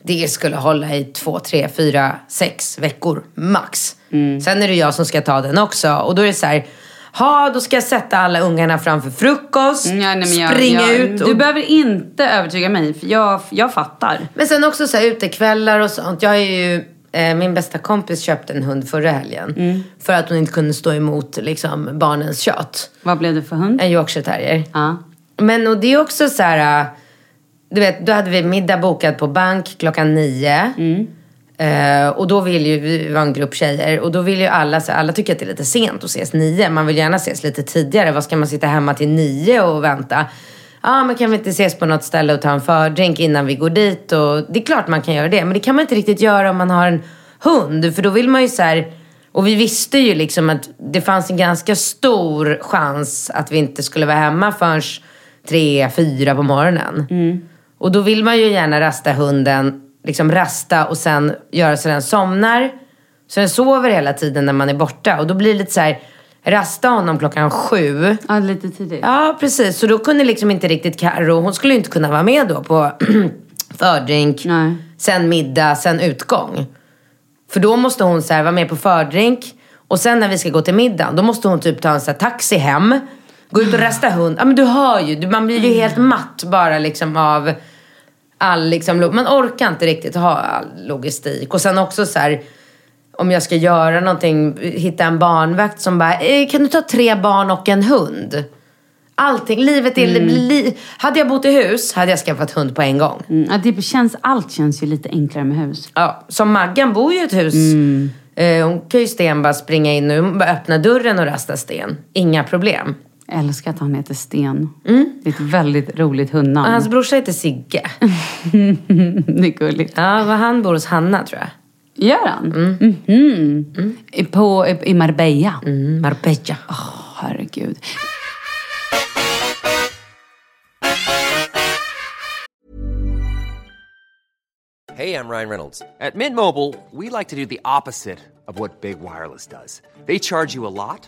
Speaker 3: Det skulle hålla i två, tre, fyra, sex veckor max.
Speaker 1: Mm.
Speaker 3: Sen är det jag som ska ta den också. Och då är det så här. Ha, då ska jag sätta alla ungarna framför frukost.
Speaker 1: Mm, Ja, nej, men jag,
Speaker 3: springa
Speaker 1: jag,
Speaker 3: ut.
Speaker 1: Du
Speaker 3: och-
Speaker 1: behöver inte övertyga mig, för jag, jag fattar.
Speaker 3: men sen också så här utekvällar och sånt. Jag är ju eh, min bästa kompis köpte en hund förra helgen.
Speaker 1: Mm.
Speaker 3: För att hon inte kunde stå emot liksom, barnens kött.
Speaker 1: Vad blev det för hund?
Speaker 3: En Yorkshire terrier.
Speaker 1: Ja.
Speaker 3: Men och det är också så här... äh, Du vet, då hade vi middag bokad på bank klockan nio. Eh, och då vill ju, vi var en grupp tjejer, och då vill ju alla, så här, alla tycker att det är lite sent att ses nio. Man vill gärna ses lite tidigare. Vad ska man sitta hemma till nio och vänta? Ja, men kan vi inte ses på något ställe och ta en fördrink innan vi går dit? Och det är klart man kan göra det, men det kan man inte riktigt göra om man har en hund. För då vill man ju så här, och vi visste ju liksom att det fanns en ganska stor chans att vi inte skulle vara hemma förrän tre, fyra på morgonen. Och då vill man ju gärna rasta hunden, liksom rasta och sen göra så den somnar. Så den sover hela tiden när man är borta. Och då blir det lite så här, rasta honom klockan sju.
Speaker 1: Ja, lite tidigt.
Speaker 3: Ja, precis. Så då kunde liksom inte riktigt Karo, hon skulle ju inte kunna vara med då på fördrink,
Speaker 1: Nej.
Speaker 3: sen middag, sen utgång. För då måste hon så här, vara med på fördrink och sen när vi ska gå till middagen, då måste hon typ ta en så här, taxi hem, gå ut och rasta hund. Ja, men du hör ju, du- man blir ju helt matt bara liksom av all liksom, lo- man orkar inte riktigt ha all logistik. Och sen också så här, om jag ska göra någonting, hitta en barnvakt som bara, eh, kan du ta tre barn och en hund? Allting, livet är... Li, hade jag bott i hus hade jag skaffat hund på en gång.
Speaker 1: Mm, ja, det känns, allt känns ju lite enklare med hus.
Speaker 3: Ja, som Maggan bor ju i ett hus. Eh, hon kan ju Sten bara springa in och bara öppna dörren och rasta Sten. Inga problem.
Speaker 1: Jag älskar att han heter Sten.
Speaker 3: Mm.
Speaker 1: Det är ett väldigt roligt
Speaker 3: Och
Speaker 1: hundnamn.
Speaker 3: hans brorsa heter Sigge.
Speaker 1: det är gulligt.
Speaker 3: Ja, vad han bor hos Hanna tror jag.
Speaker 1: Gör han? Mhm. I- På, i- I Marbella.
Speaker 3: Mm, Marbella.
Speaker 1: Åh, herregud.
Speaker 4: Hey, I'm Ryan Reynolds. At Mint Mobile, we like to do the opposite of what Big Wireless does. They charge you a lot,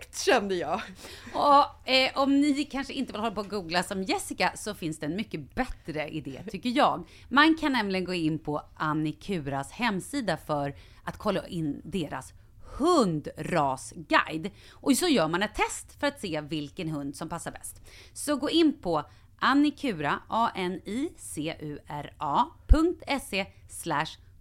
Speaker 2: kände jag!
Speaker 5: Och, eh, om ni kanske inte vill hålla på och googla som Jessica så finns det en mycket bättre idé tycker jag. Man kan nämligen gå in på Annikuras hemsida för att kolla in deras hundrasguide. Och så gör man ett test för att se vilken hund som passar bäst. Så gå in på annikura, A-N-I-C-U-R-A.se E slash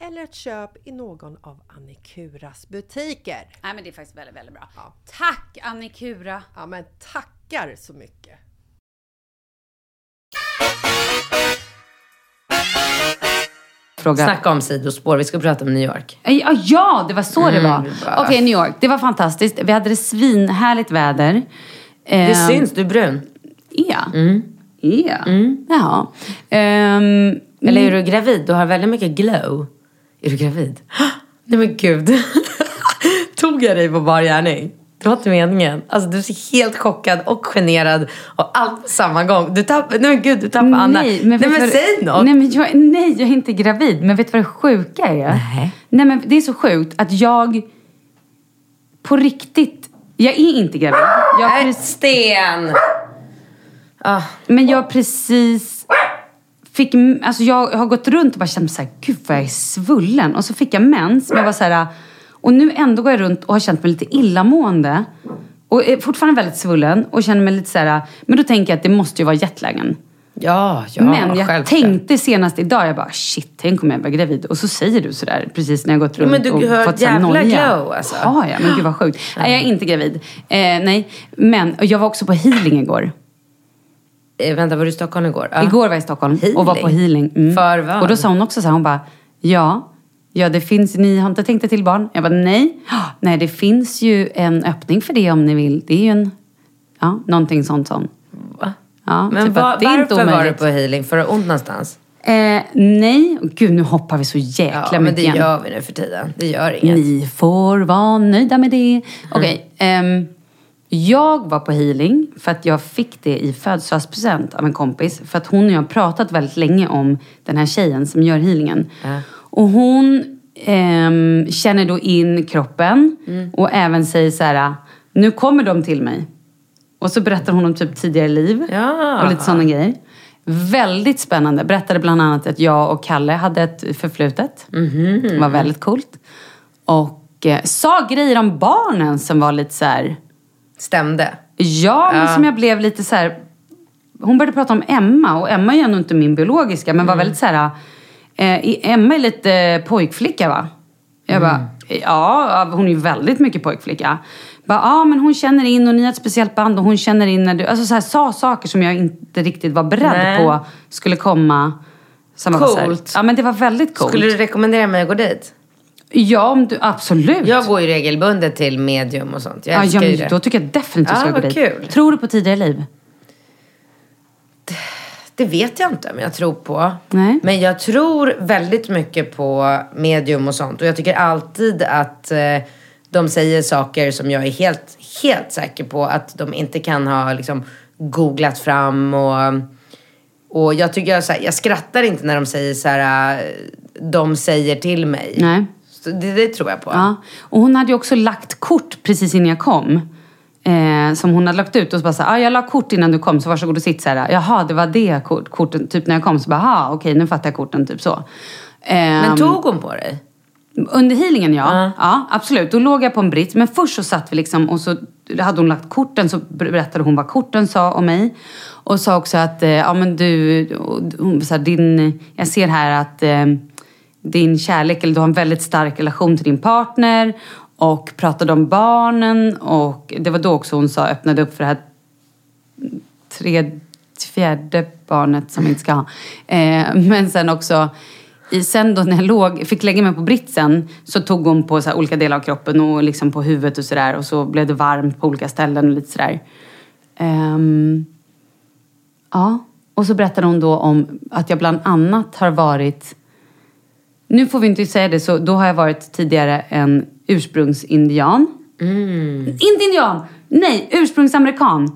Speaker 2: eller ett köp i någon av Annikuras butiker.
Speaker 5: Nej men det är faktiskt väldigt, väldigt bra. Tack Annikura!
Speaker 2: Ja, men tackar så mycket!
Speaker 1: Fråga.
Speaker 3: Snacka om sidospår, vi ska prata om New York.
Speaker 1: Ja, ja, det var så
Speaker 3: Mm,
Speaker 1: Mm, det var. Okej,
Speaker 3: bara-
Speaker 1: New York. Det var fantastiskt. Vi hade det svinhärligt väder. Ehm,
Speaker 3: Det syns, Mm. du är brun.
Speaker 1: Ja. Ja. E. Jaha. Ehm,
Speaker 3: Eller är du gravid? Du har väldigt mycket glow. Är du gravid? Nej men gud. Tog jag dig på bar gärning? Det var inte meningen. Alltså du ser helt chockad och generad och allt på samma gång. Du tappar, nej men gud du tappar Anna. Nej men,
Speaker 1: vet du vad-
Speaker 3: säg något.
Speaker 1: Nej men, jag, nej, jag är inte gravid. Men vet du vad det sjuka är?
Speaker 3: Nej.
Speaker 1: Nej men det är så sjukt att jag på riktigt, jag är inte gravid. Jag har
Speaker 3: Nej,
Speaker 1: precis,
Speaker 3: Äh, Sten! Ah,
Speaker 1: men jag har precis fick, alltså jag har gått runt och bara känt så här, gud vad jag är svullen. Och så fick jag mens, men jag var så här, och nu ändå går jag runt och har känt mig lite illamående. Och är fortfarande väldigt svullen och känner mig lite så här, men då tänker jag att det måste ju vara jetlagen.
Speaker 3: ja, ja,
Speaker 1: Men jag
Speaker 3: självklart.
Speaker 1: tänkte senast idag, jag bara shit, tänk om jag blir gravid. Och så säger du sådär precis när jag gått runt
Speaker 3: men du
Speaker 1: och
Speaker 3: har
Speaker 1: fått sån
Speaker 3: jävla
Speaker 1: noja.
Speaker 3: glow, alltså.
Speaker 1: Har jag? Men gud vad sjukt. Nej, jag är inte gravid. Eh, nej, men och jag var också på healing igår.
Speaker 3: Eh, vänta, var du i Stockholm igår? Ja.
Speaker 1: Igår var jag i Stockholm och var på healing. Mm.
Speaker 3: För vad?
Speaker 1: Och då sa hon också så här, hon bara, ja, ja det finns, ni har inte tänkt er till barn? Jag bara, nej. "Ah, Nej, det finns ju en öppning för det om ni vill. Det är ju en, ja, någonting sånt sånt.
Speaker 3: Va?
Speaker 1: Ja,
Speaker 3: Men
Speaker 1: typ
Speaker 3: va-
Speaker 1: att det är inte
Speaker 3: varför var du
Speaker 1: omöjligt.
Speaker 3: på healing? För att ont någonstans?
Speaker 1: Eh, nej, gud nu hoppar vi så
Speaker 3: Ja,
Speaker 1: jäkla
Speaker 3: men
Speaker 1: mycket
Speaker 3: det
Speaker 1: igen.
Speaker 3: gör vi nu för tiden. Det gör inget.
Speaker 1: Ni får vara nöjda med det. Okej. ehm, jag var på healing för att jag fick det i födelsedagspresent av en kompis. För att hon och jag har pratat väldigt länge om den här tjejen som gör healingen. Och hon ehm, känner då in kroppen och även säger så här, nu kommer de till mig. Och så berättar hon om typ tidigare liv
Speaker 3: Ja.
Speaker 1: och lite sådana grejer. Väldigt spännande. Berättade bland annat att jag och Kalle hade ett förflutet. Det var väldigt coolt. Och eh, sa grejer om barnen som var lite så här...
Speaker 3: Stämde?
Speaker 1: Ja, men som jag blev lite så här... Hon började prata om Emma och Emma är ju ändå inte min biologiska men
Speaker 3: Mm.
Speaker 1: var väldigt så här... Eh, i- Emma är lite pojkflicka va? Jag bara,
Speaker 3: Mm.
Speaker 1: ja hon är ju väldigt mycket pojkflicka. Bara, ja men hon känner in och ni har ett speciellt band och hon känner in när du... Alltså så här, sa saker som jag inte riktigt var beredd
Speaker 3: Nej.
Speaker 1: på skulle komma. Så man var så här-
Speaker 3: Coolt.
Speaker 1: Ja men det var väldigt coolt.
Speaker 3: Skulle du rekommendera mig att gå dit?
Speaker 1: Ja, om du, absolut.
Speaker 3: Jag går ju regelbundet till medium och sånt. Jag
Speaker 1: ja, ja,
Speaker 3: älskar ju
Speaker 1: men
Speaker 3: det.
Speaker 1: då tycker jag definitivt
Speaker 3: Ja,
Speaker 1: du ska gå
Speaker 3: vad
Speaker 1: dit.
Speaker 3: kul.
Speaker 1: Tror du på tidigare liv?
Speaker 3: Det vet jag inte om jag tror på.
Speaker 1: Nej.
Speaker 3: Men jag tror väldigt mycket på medium och sånt. Och jag tycker alltid att eh, de säger saker som jag är helt, helt säker på att de inte kan ha liksom, googlat fram. Och, och jag, tycker jag, så här, jag skrattar inte när de säger så här, eh, de säger till mig.
Speaker 1: Nej.
Speaker 3: Så det, det tror jag på.
Speaker 1: Ja. Och hon hade ju också lagt kort precis innan jag kom. Eh, som hon hade lagt ut och så bara så här, ah, jag la kort innan du kom så varsågod och sitt så här. Jaha, det var det kort, korten, typ när jag kom så bara, aha, okej nu fattar jag korten, typ så.
Speaker 3: Men
Speaker 1: Ehm,
Speaker 3: tog hon på dig?
Speaker 1: under healingen ja. Ja, absolut. Då låg jag på en britt. Men först så satt vi liksom och så hade hon lagt korten så ber- berättade hon vad korten sa om mig. Och sa också att, eh, ja men du, och hon sa din, jag ser här att eh, din kärlek, eller du har en väldigt stark relation till din partner. och pratade om barnen och det var då också hon sa, öppnade upp för det här tre, fjärde barnet som vi inte ska ha. Eh, men sen också, i, sen då när jag låg, fick lägga mig på britsen så tog hon på så här olika delar av kroppen och liksom på huvudet och sådär och så blev det varmt på olika ställen och lite sådär. Ehm, ja, och så berättade hon då om att jag bland annat har varit nu får vi inte säga det, så då har jag varit tidigare en ursprungsindian. Inte indian! Nej, ursprungsamerikan.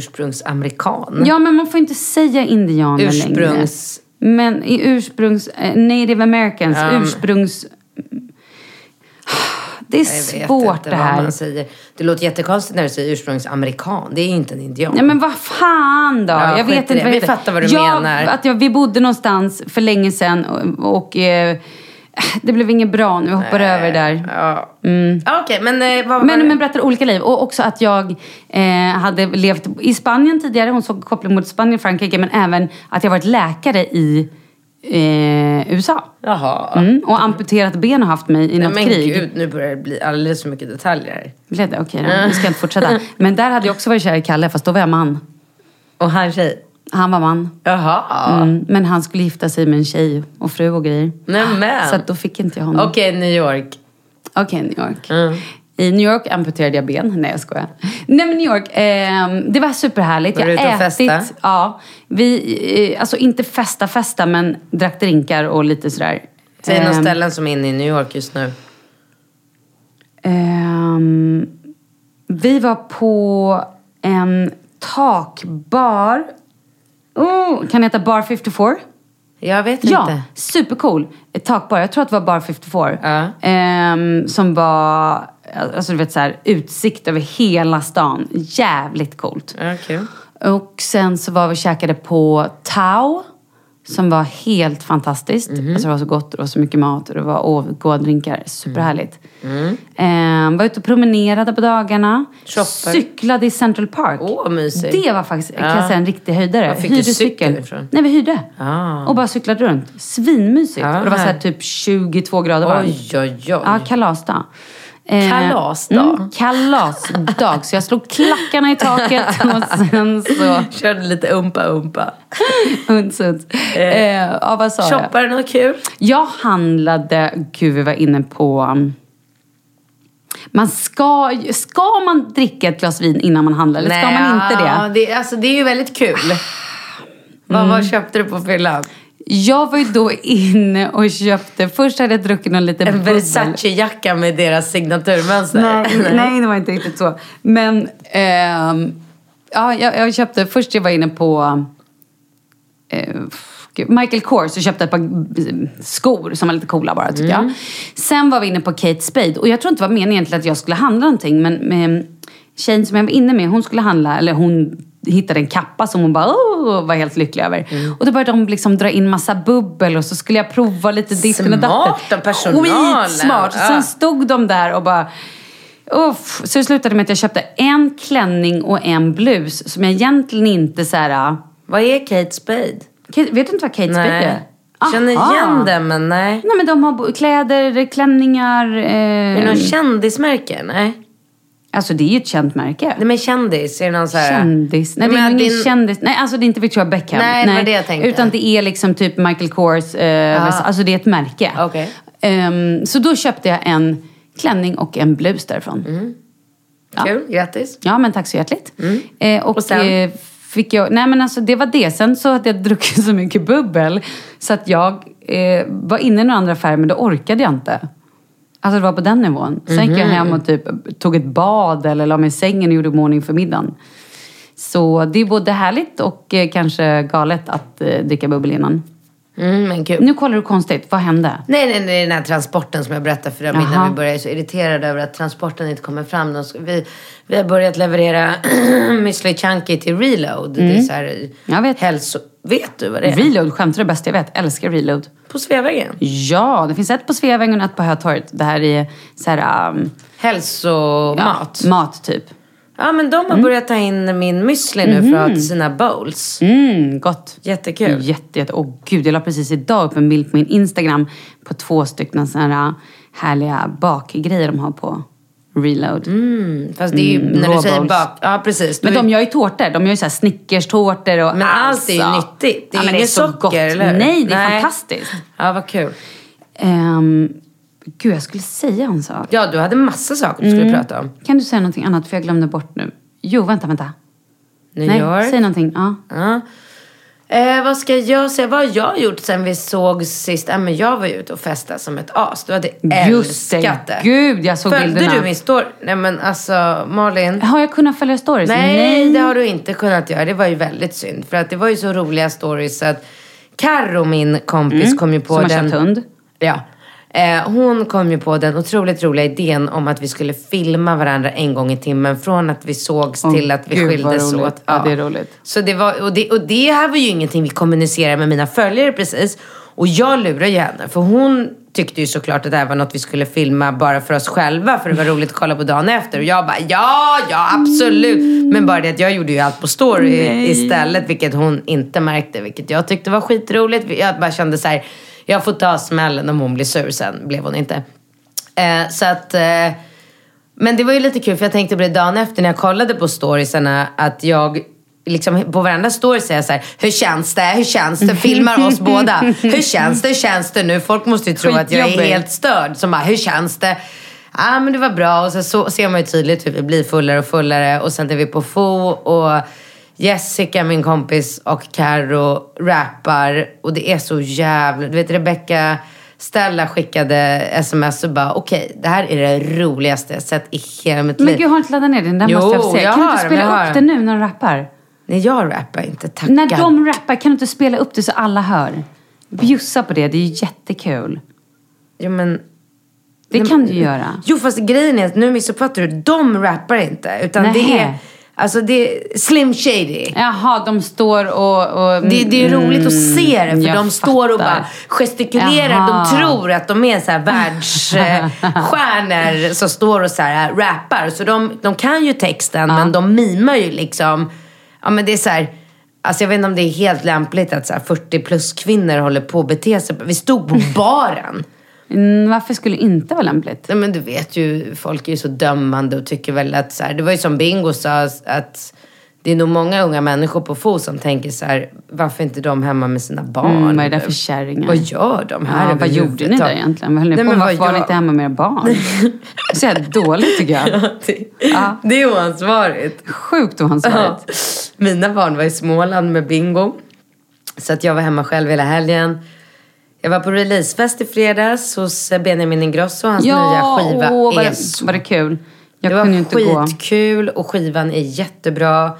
Speaker 3: Ursprungsamerikan.
Speaker 1: Ja, men man får inte säga indianer längre.
Speaker 3: Ursprungs-
Speaker 1: Men i ursprungs... eh, Native americans,
Speaker 3: Ja.
Speaker 1: ursprungs... Det är svårt det
Speaker 3: vad
Speaker 1: här.
Speaker 3: man säger. Det låter jättekonstigt när du säger ursprungsamerikan. Det är ju inte en indian.
Speaker 1: Nej men vad fan då!
Speaker 3: Ja,
Speaker 1: jag
Speaker 3: skit i
Speaker 1: vet inte
Speaker 3: det.
Speaker 1: vad
Speaker 3: Vi
Speaker 1: jag heter.
Speaker 3: fattar vad du
Speaker 1: jag,
Speaker 3: menar.
Speaker 1: Att jag, vi bodde någonstans för länge sedan och, och eh, det blev inget bra nu. Jag hoppar över det där.
Speaker 3: Ja. Ja, Okej, men eh, vad var det?
Speaker 1: Men, men berättar olika liv. Och också att jag eh, hade levt i Spanien tidigare. Hon såg koppling mot Spanien och Frankrike. Men även att jag varit läkare i eh, USA.
Speaker 3: Jaha.
Speaker 1: Mm, och amputerat ben och haft mig i
Speaker 3: Nej,
Speaker 1: något
Speaker 3: men
Speaker 1: krig.
Speaker 3: gud, nu börjar det bli alldeles för mycket detaljer här.
Speaker 1: Blev det? Okej då. Nu ska jag inte fortsätta. Men där hade jag också varit kär i Kalle. Fast då var jag man.
Speaker 3: Och han tjej.
Speaker 1: Han var man.
Speaker 3: Jaha.
Speaker 1: Mm, men han skulle gifta sig med en tjej och fru och grejer.
Speaker 3: Nämen.
Speaker 1: Så att då fick inte jag honom.
Speaker 3: Okej, New York.
Speaker 1: Okej, New York.
Speaker 3: Mm.
Speaker 1: I New York amputerade jag ben. Nej, jag skojar. Nej, men New York. ehm, det var superhärligt.
Speaker 3: Var du
Speaker 1: jag
Speaker 3: ute och
Speaker 1: ätit.
Speaker 3: festa?
Speaker 1: Ja. Vi, eh, alltså inte festa, festa, men drack drinkar och lite sådär.
Speaker 3: Säg
Speaker 1: Ehm,
Speaker 3: några ställen som är inne i New York just nu.
Speaker 1: ehm, vi var på en takbar. Oh, kan det heta Bar 54?
Speaker 3: Jag vet
Speaker 1: Ja,
Speaker 3: inte.
Speaker 1: supercool. Ett Takbar. Jag tror att det var Bar 54.
Speaker 3: Ja.
Speaker 1: Ehm, som var, alltså du vet så här, utsikt över hela stan. Jävligt coolt.
Speaker 3: Ja, kul.
Speaker 1: Och sen så var vi och käkade på Tao. Som var helt fantastiskt.
Speaker 3: Mhm.
Speaker 1: Alltså det var så gott och det var så mycket mat och det var åh, goda drinkar. Superhärligt.
Speaker 3: Mm.
Speaker 1: Ehm, var ute och promenerade på dagarna.
Speaker 3: Shoppade.
Speaker 1: Cyklade i Central Park.
Speaker 3: Åh, mysigt.
Speaker 1: Det var faktiskt, kan
Speaker 3: Ja.
Speaker 1: jag säga, en riktig höjdare.
Speaker 3: Var fick du
Speaker 1: Hyrde
Speaker 3: cykeln ifrån?
Speaker 1: Nej, vi hyrde.
Speaker 3: Ah.
Speaker 1: Och bara cyklade runt. Svinmysigt.
Speaker 3: Ja,
Speaker 1: och det var så här
Speaker 3: här.
Speaker 1: typ 22 grader
Speaker 3: Oj, oj, oj.
Speaker 1: Ja, kalasdag. Eh,
Speaker 3: Kalasdag?
Speaker 1: Mm, kalasdag. Så jag slog klackarna i taket och sen så...
Speaker 3: Körde lite umpa-umpa.
Speaker 1: Uns, uns. Eh, ja, vad sa jag?
Speaker 3: Shoppade något kul?
Speaker 1: Jag handlade... Gud, vi var inne på... um, Man ska, ju- ska man dricka ett glas vin innan man handlar? Eller ska man inte
Speaker 3: ja,
Speaker 1: det? Ah. Mm.
Speaker 3: det? Alltså, det är ju väldigt kul. Vad, vad köpte du på fyllan?
Speaker 1: Jag var ju då inne och köpte... Först hade jag druckit någon liten
Speaker 3: En
Speaker 1: bubbel.
Speaker 3: Versace-jacka med deras signaturmönster?
Speaker 1: Mm. Nej, nej, det var inte riktigt så. Men ehm, ja, jag, jag köpte, först jag var inne på um, eh, gud, Michael Kors och köpte ett par eh, skor som var lite coola bara tycker
Speaker 3: Mm.
Speaker 1: jag. Sen var vi inne på Kate Spade och jag tror inte det var meningen egentligen att jag skulle handla någonting men, men tjejen som jag var inne med hon skulle handla, eller hon hittade en kappa som hon bara "Åh", var helt lycklig över.
Speaker 3: Mm.
Speaker 1: Och då började de liksom dra in massa bubbel och så skulle jag prova lite ditten och datten.
Speaker 3: Smart av personalen.
Speaker 1: Skitsmart! Och
Speaker 3: Ja.
Speaker 1: Sen stod de där och bara... Uff. Så det slutade med att jag köpte en klänning och en blus som jag egentligen inte så här...
Speaker 3: Vad är Kate Spade?
Speaker 1: Kate, vet du inte vad Kate Spade är?
Speaker 3: Känner
Speaker 1: Aha.
Speaker 3: igen den, men nej.
Speaker 1: Nej men de har bo- kläder, klänningar...
Speaker 3: Är det
Speaker 1: Eh,
Speaker 3: någon kändismärke? Nej.
Speaker 1: alltså det är ju ett känt märke.
Speaker 3: Nej men kändis, är det någon så här...
Speaker 1: Kändis. Nej, det är
Speaker 3: Men
Speaker 1: nog ingen
Speaker 3: din-
Speaker 1: kändis. Nej, alltså det är inte Victoria Beckham.
Speaker 3: Nej, det var det jag tänkte. Ah.
Speaker 1: Utan det är liksom typ Michael Kors. Eh, Alltså det är ett märke.
Speaker 3: Okej.
Speaker 1: Ehm, så då köpte jag en klänning och en blus därifrån.
Speaker 3: Mm. Kul, grattis.
Speaker 1: Ja, men tack så hjärtligt. Eh, och,
Speaker 3: Och sen?
Speaker 1: Eh, fick jag, nej men alltså det var det. Sen så hade jag druckit så mycket bubbel så att jag eh, var inne i några andra affärer men det orkade jag inte. Alltså det var på den nivån. Sen gick jag hem och typ tog ett bad eller la mig i sängen och gjorde mig i ordning för middagen. Så det är både härligt och eh, kanske galet att eh, dricka bubbel innan.
Speaker 3: Mm, men kul.
Speaker 1: Nu kollar du konstigt. Vad hände?
Speaker 3: Nej, nej, nej, den här transporten som jag berättade för dem innan
Speaker 1: Jaha.
Speaker 3: vi började. Jag är så irriterad över att transporten inte kommer fram. De ska- Vi, vi har börjat leverera Müsli Chunky till Reload. Det är så här,
Speaker 1: Mm. Jag vet.
Speaker 3: Hälso... Vet du vad det är?
Speaker 1: Reload, skämtar det bästa jag vet. Älskar reload.
Speaker 3: På Sveavägen.
Speaker 1: Ja, det finns ett på Sveavägen och ett på Hötorget. Det här är så här... ehm,
Speaker 3: Hälsomat.
Speaker 1: Ja, mat typ.
Speaker 3: Ja, men de har
Speaker 1: Mm.
Speaker 3: börjat ta in min müsli nu för att sina bowls.
Speaker 1: Mm, gott.
Speaker 3: Jättekul.
Speaker 1: Jätte, jätte. Åh gud, jag la precis idag upp en bild på min Instagram på två stycken sådana här äh, härliga bakgrejer de har på Reload.
Speaker 3: Mm, fast det är ju, när du
Speaker 1: raw
Speaker 3: säger
Speaker 1: bowls.
Speaker 3: bak... Ja, precis.
Speaker 1: Men
Speaker 3: Du-
Speaker 1: de gör ju tårtor. De gör ju så här snickerstårtor och
Speaker 3: Men allt är ju
Speaker 1: alltså.
Speaker 3: nyttigt. Det är
Speaker 1: men
Speaker 3: inget
Speaker 1: så
Speaker 3: socker,
Speaker 1: gott.
Speaker 3: eller hur?
Speaker 1: Nej, det är
Speaker 3: Nej.
Speaker 1: fantastiskt.
Speaker 3: Ja, vad kul.
Speaker 1: Ehm, gud, jag skulle säga en sak.
Speaker 3: Ja, du hade massa saker du skulle
Speaker 1: Mm.
Speaker 3: prata om.
Speaker 1: Kan du säga någonting annat? För jag glömde bort nu. Jo, vänta, vänta.
Speaker 3: New
Speaker 1: Nej,
Speaker 3: York.
Speaker 1: säg någonting. Ja.
Speaker 3: Ja. Eh, vad ska jag säga? Vad har jag gjort sen vi såg sist? Ja, men jag var ju ute och festade som ett as. Du hade
Speaker 1: Just det.
Speaker 3: älskat det.
Speaker 1: Gud, jag såg
Speaker 3: Följde
Speaker 1: bilderna.
Speaker 3: du min story? Nej, men alltså Malin.
Speaker 1: Har jag kunnat följa stories?
Speaker 3: Nej, det har du inte kunnat göra. Det var ju väldigt synd. För att det var ju så roliga stories så att Karo, min kompis, kom ju på
Speaker 1: Mm. Som har
Speaker 3: den.
Speaker 1: köpt hund.
Speaker 3: Ja. Eh, hon kom ju på den otroligt roliga idén om att vi skulle filma varandra en gång i timmen. Från att vi sågs
Speaker 1: Åh,
Speaker 3: till att vi
Speaker 1: gud, vad
Speaker 3: skildes
Speaker 1: roligt.
Speaker 3: åt.
Speaker 1: Ja, det är roligt.
Speaker 3: Så det var, och, det, och det här var ju ingenting vi kommunicerade med mina följare precis. Och jag lurade ju henne. För hon tyckte ju såklart att det här var något vi skulle filma bara för oss själva. För det var roligt att kolla på dagen efter. Och jag bara, ja, ja absolut. Men bara det att jag gjorde ju allt på story istället. Vilket hon inte märkte. Vilket jag tyckte var skitroligt. Jag bara kände så här, jag får ta smällen om hon blir sur sen. Blev hon inte. Eh, så att... Eh, men det var ju lite kul för jag tänkte på det dagen efter när jag kollade på storiesarna att jag liksom på varenda story säger jag så här, hur känns det, hur känns det, filmar oss båda. Hur känns det, hur känns det nu? Folk måste ju tro att jag är
Speaker 1: Skitjobbigt.
Speaker 3: helt störd som bara, hur känns det? Ja ah, men det var bra och så, så ser man ju tydligt hur vi blir fullare och fullare och sen är vi på Fo och Jessica min kompis och Karo rappar och det är så jävla, du vet Rebecca Stella skickade sms och bara okej, det här är det roligaste jag sett i hela mitt
Speaker 1: Men
Speaker 3: liv.
Speaker 1: gud, har du inte laddat ner den? Den
Speaker 3: Jo,
Speaker 1: måste jag få se.
Speaker 3: jag
Speaker 1: Kan du
Speaker 3: har
Speaker 1: inte
Speaker 3: den,
Speaker 1: spela
Speaker 3: jag har
Speaker 1: upp den
Speaker 3: den.
Speaker 1: nu när de rappar?
Speaker 3: Nej jag rappar inte, tackar.
Speaker 1: När de rappar, kan du inte spela upp det så alla hör? Bjussa på det, det är ju jättekul.
Speaker 3: Jo men
Speaker 1: Det
Speaker 3: Nej,
Speaker 1: kan
Speaker 3: men-
Speaker 1: du göra.
Speaker 3: Jo fast grejen är att nu missuppfattar du, de rappar inte. Utan det
Speaker 1: Nähä.
Speaker 3: är, alltså det är Slim Shady.
Speaker 1: Jaha, de står och... och
Speaker 3: Det, det är roligt att se det för
Speaker 1: Mm. jag
Speaker 3: de står och bara
Speaker 1: fattar.
Speaker 3: gestikulerar.
Speaker 1: Jaha.
Speaker 3: De tror att de är så här världsstjärnor som står och så här rappar. Så de, de kan ju texten men de mimar ju liksom. Ja men det är så här, alltså jag vet inte om det är helt lämpligt att så här 40 plus kvinnor håller på att bete sig. Vi stod på baren.
Speaker 1: Mm, varför skulle det inte vara lämpligt?
Speaker 3: Nej, men du vet ju, folk är ju så dömande och tycker väl att så här, det var ju som Bingo sa att det är nog många unga människor på FO som tänker så här, varför är inte de hemma med sina barn?
Speaker 1: Mm, vad är det för kärringar?
Speaker 3: Vad gör de här
Speaker 1: Ja, vad gjorde ni där
Speaker 3: överhuvudtaget?
Speaker 1: egentligen? Vad höll ni
Speaker 3: Nej,
Speaker 1: på
Speaker 3: men
Speaker 1: med? Varför
Speaker 3: vad
Speaker 1: var ni
Speaker 3: gör-
Speaker 1: inte hemma med era barn? Så jävla dåligt tycker jag.
Speaker 3: det, det är oansvarigt.
Speaker 1: Sjukt oansvarigt.
Speaker 3: Ja. Mina barn var i Småland med bingo. Så att jag var hemma själv hela helgen. Jag var på releasefest i fredags hos Benjamin Ingrosso. Hans nya skiva
Speaker 1: åh, var,
Speaker 3: är
Speaker 1: det,
Speaker 3: så
Speaker 1: var det kul? Jag
Speaker 3: det
Speaker 1: kunde ju
Speaker 3: var
Speaker 1: inte gå.
Speaker 3: skitkul och skivan är jättebra.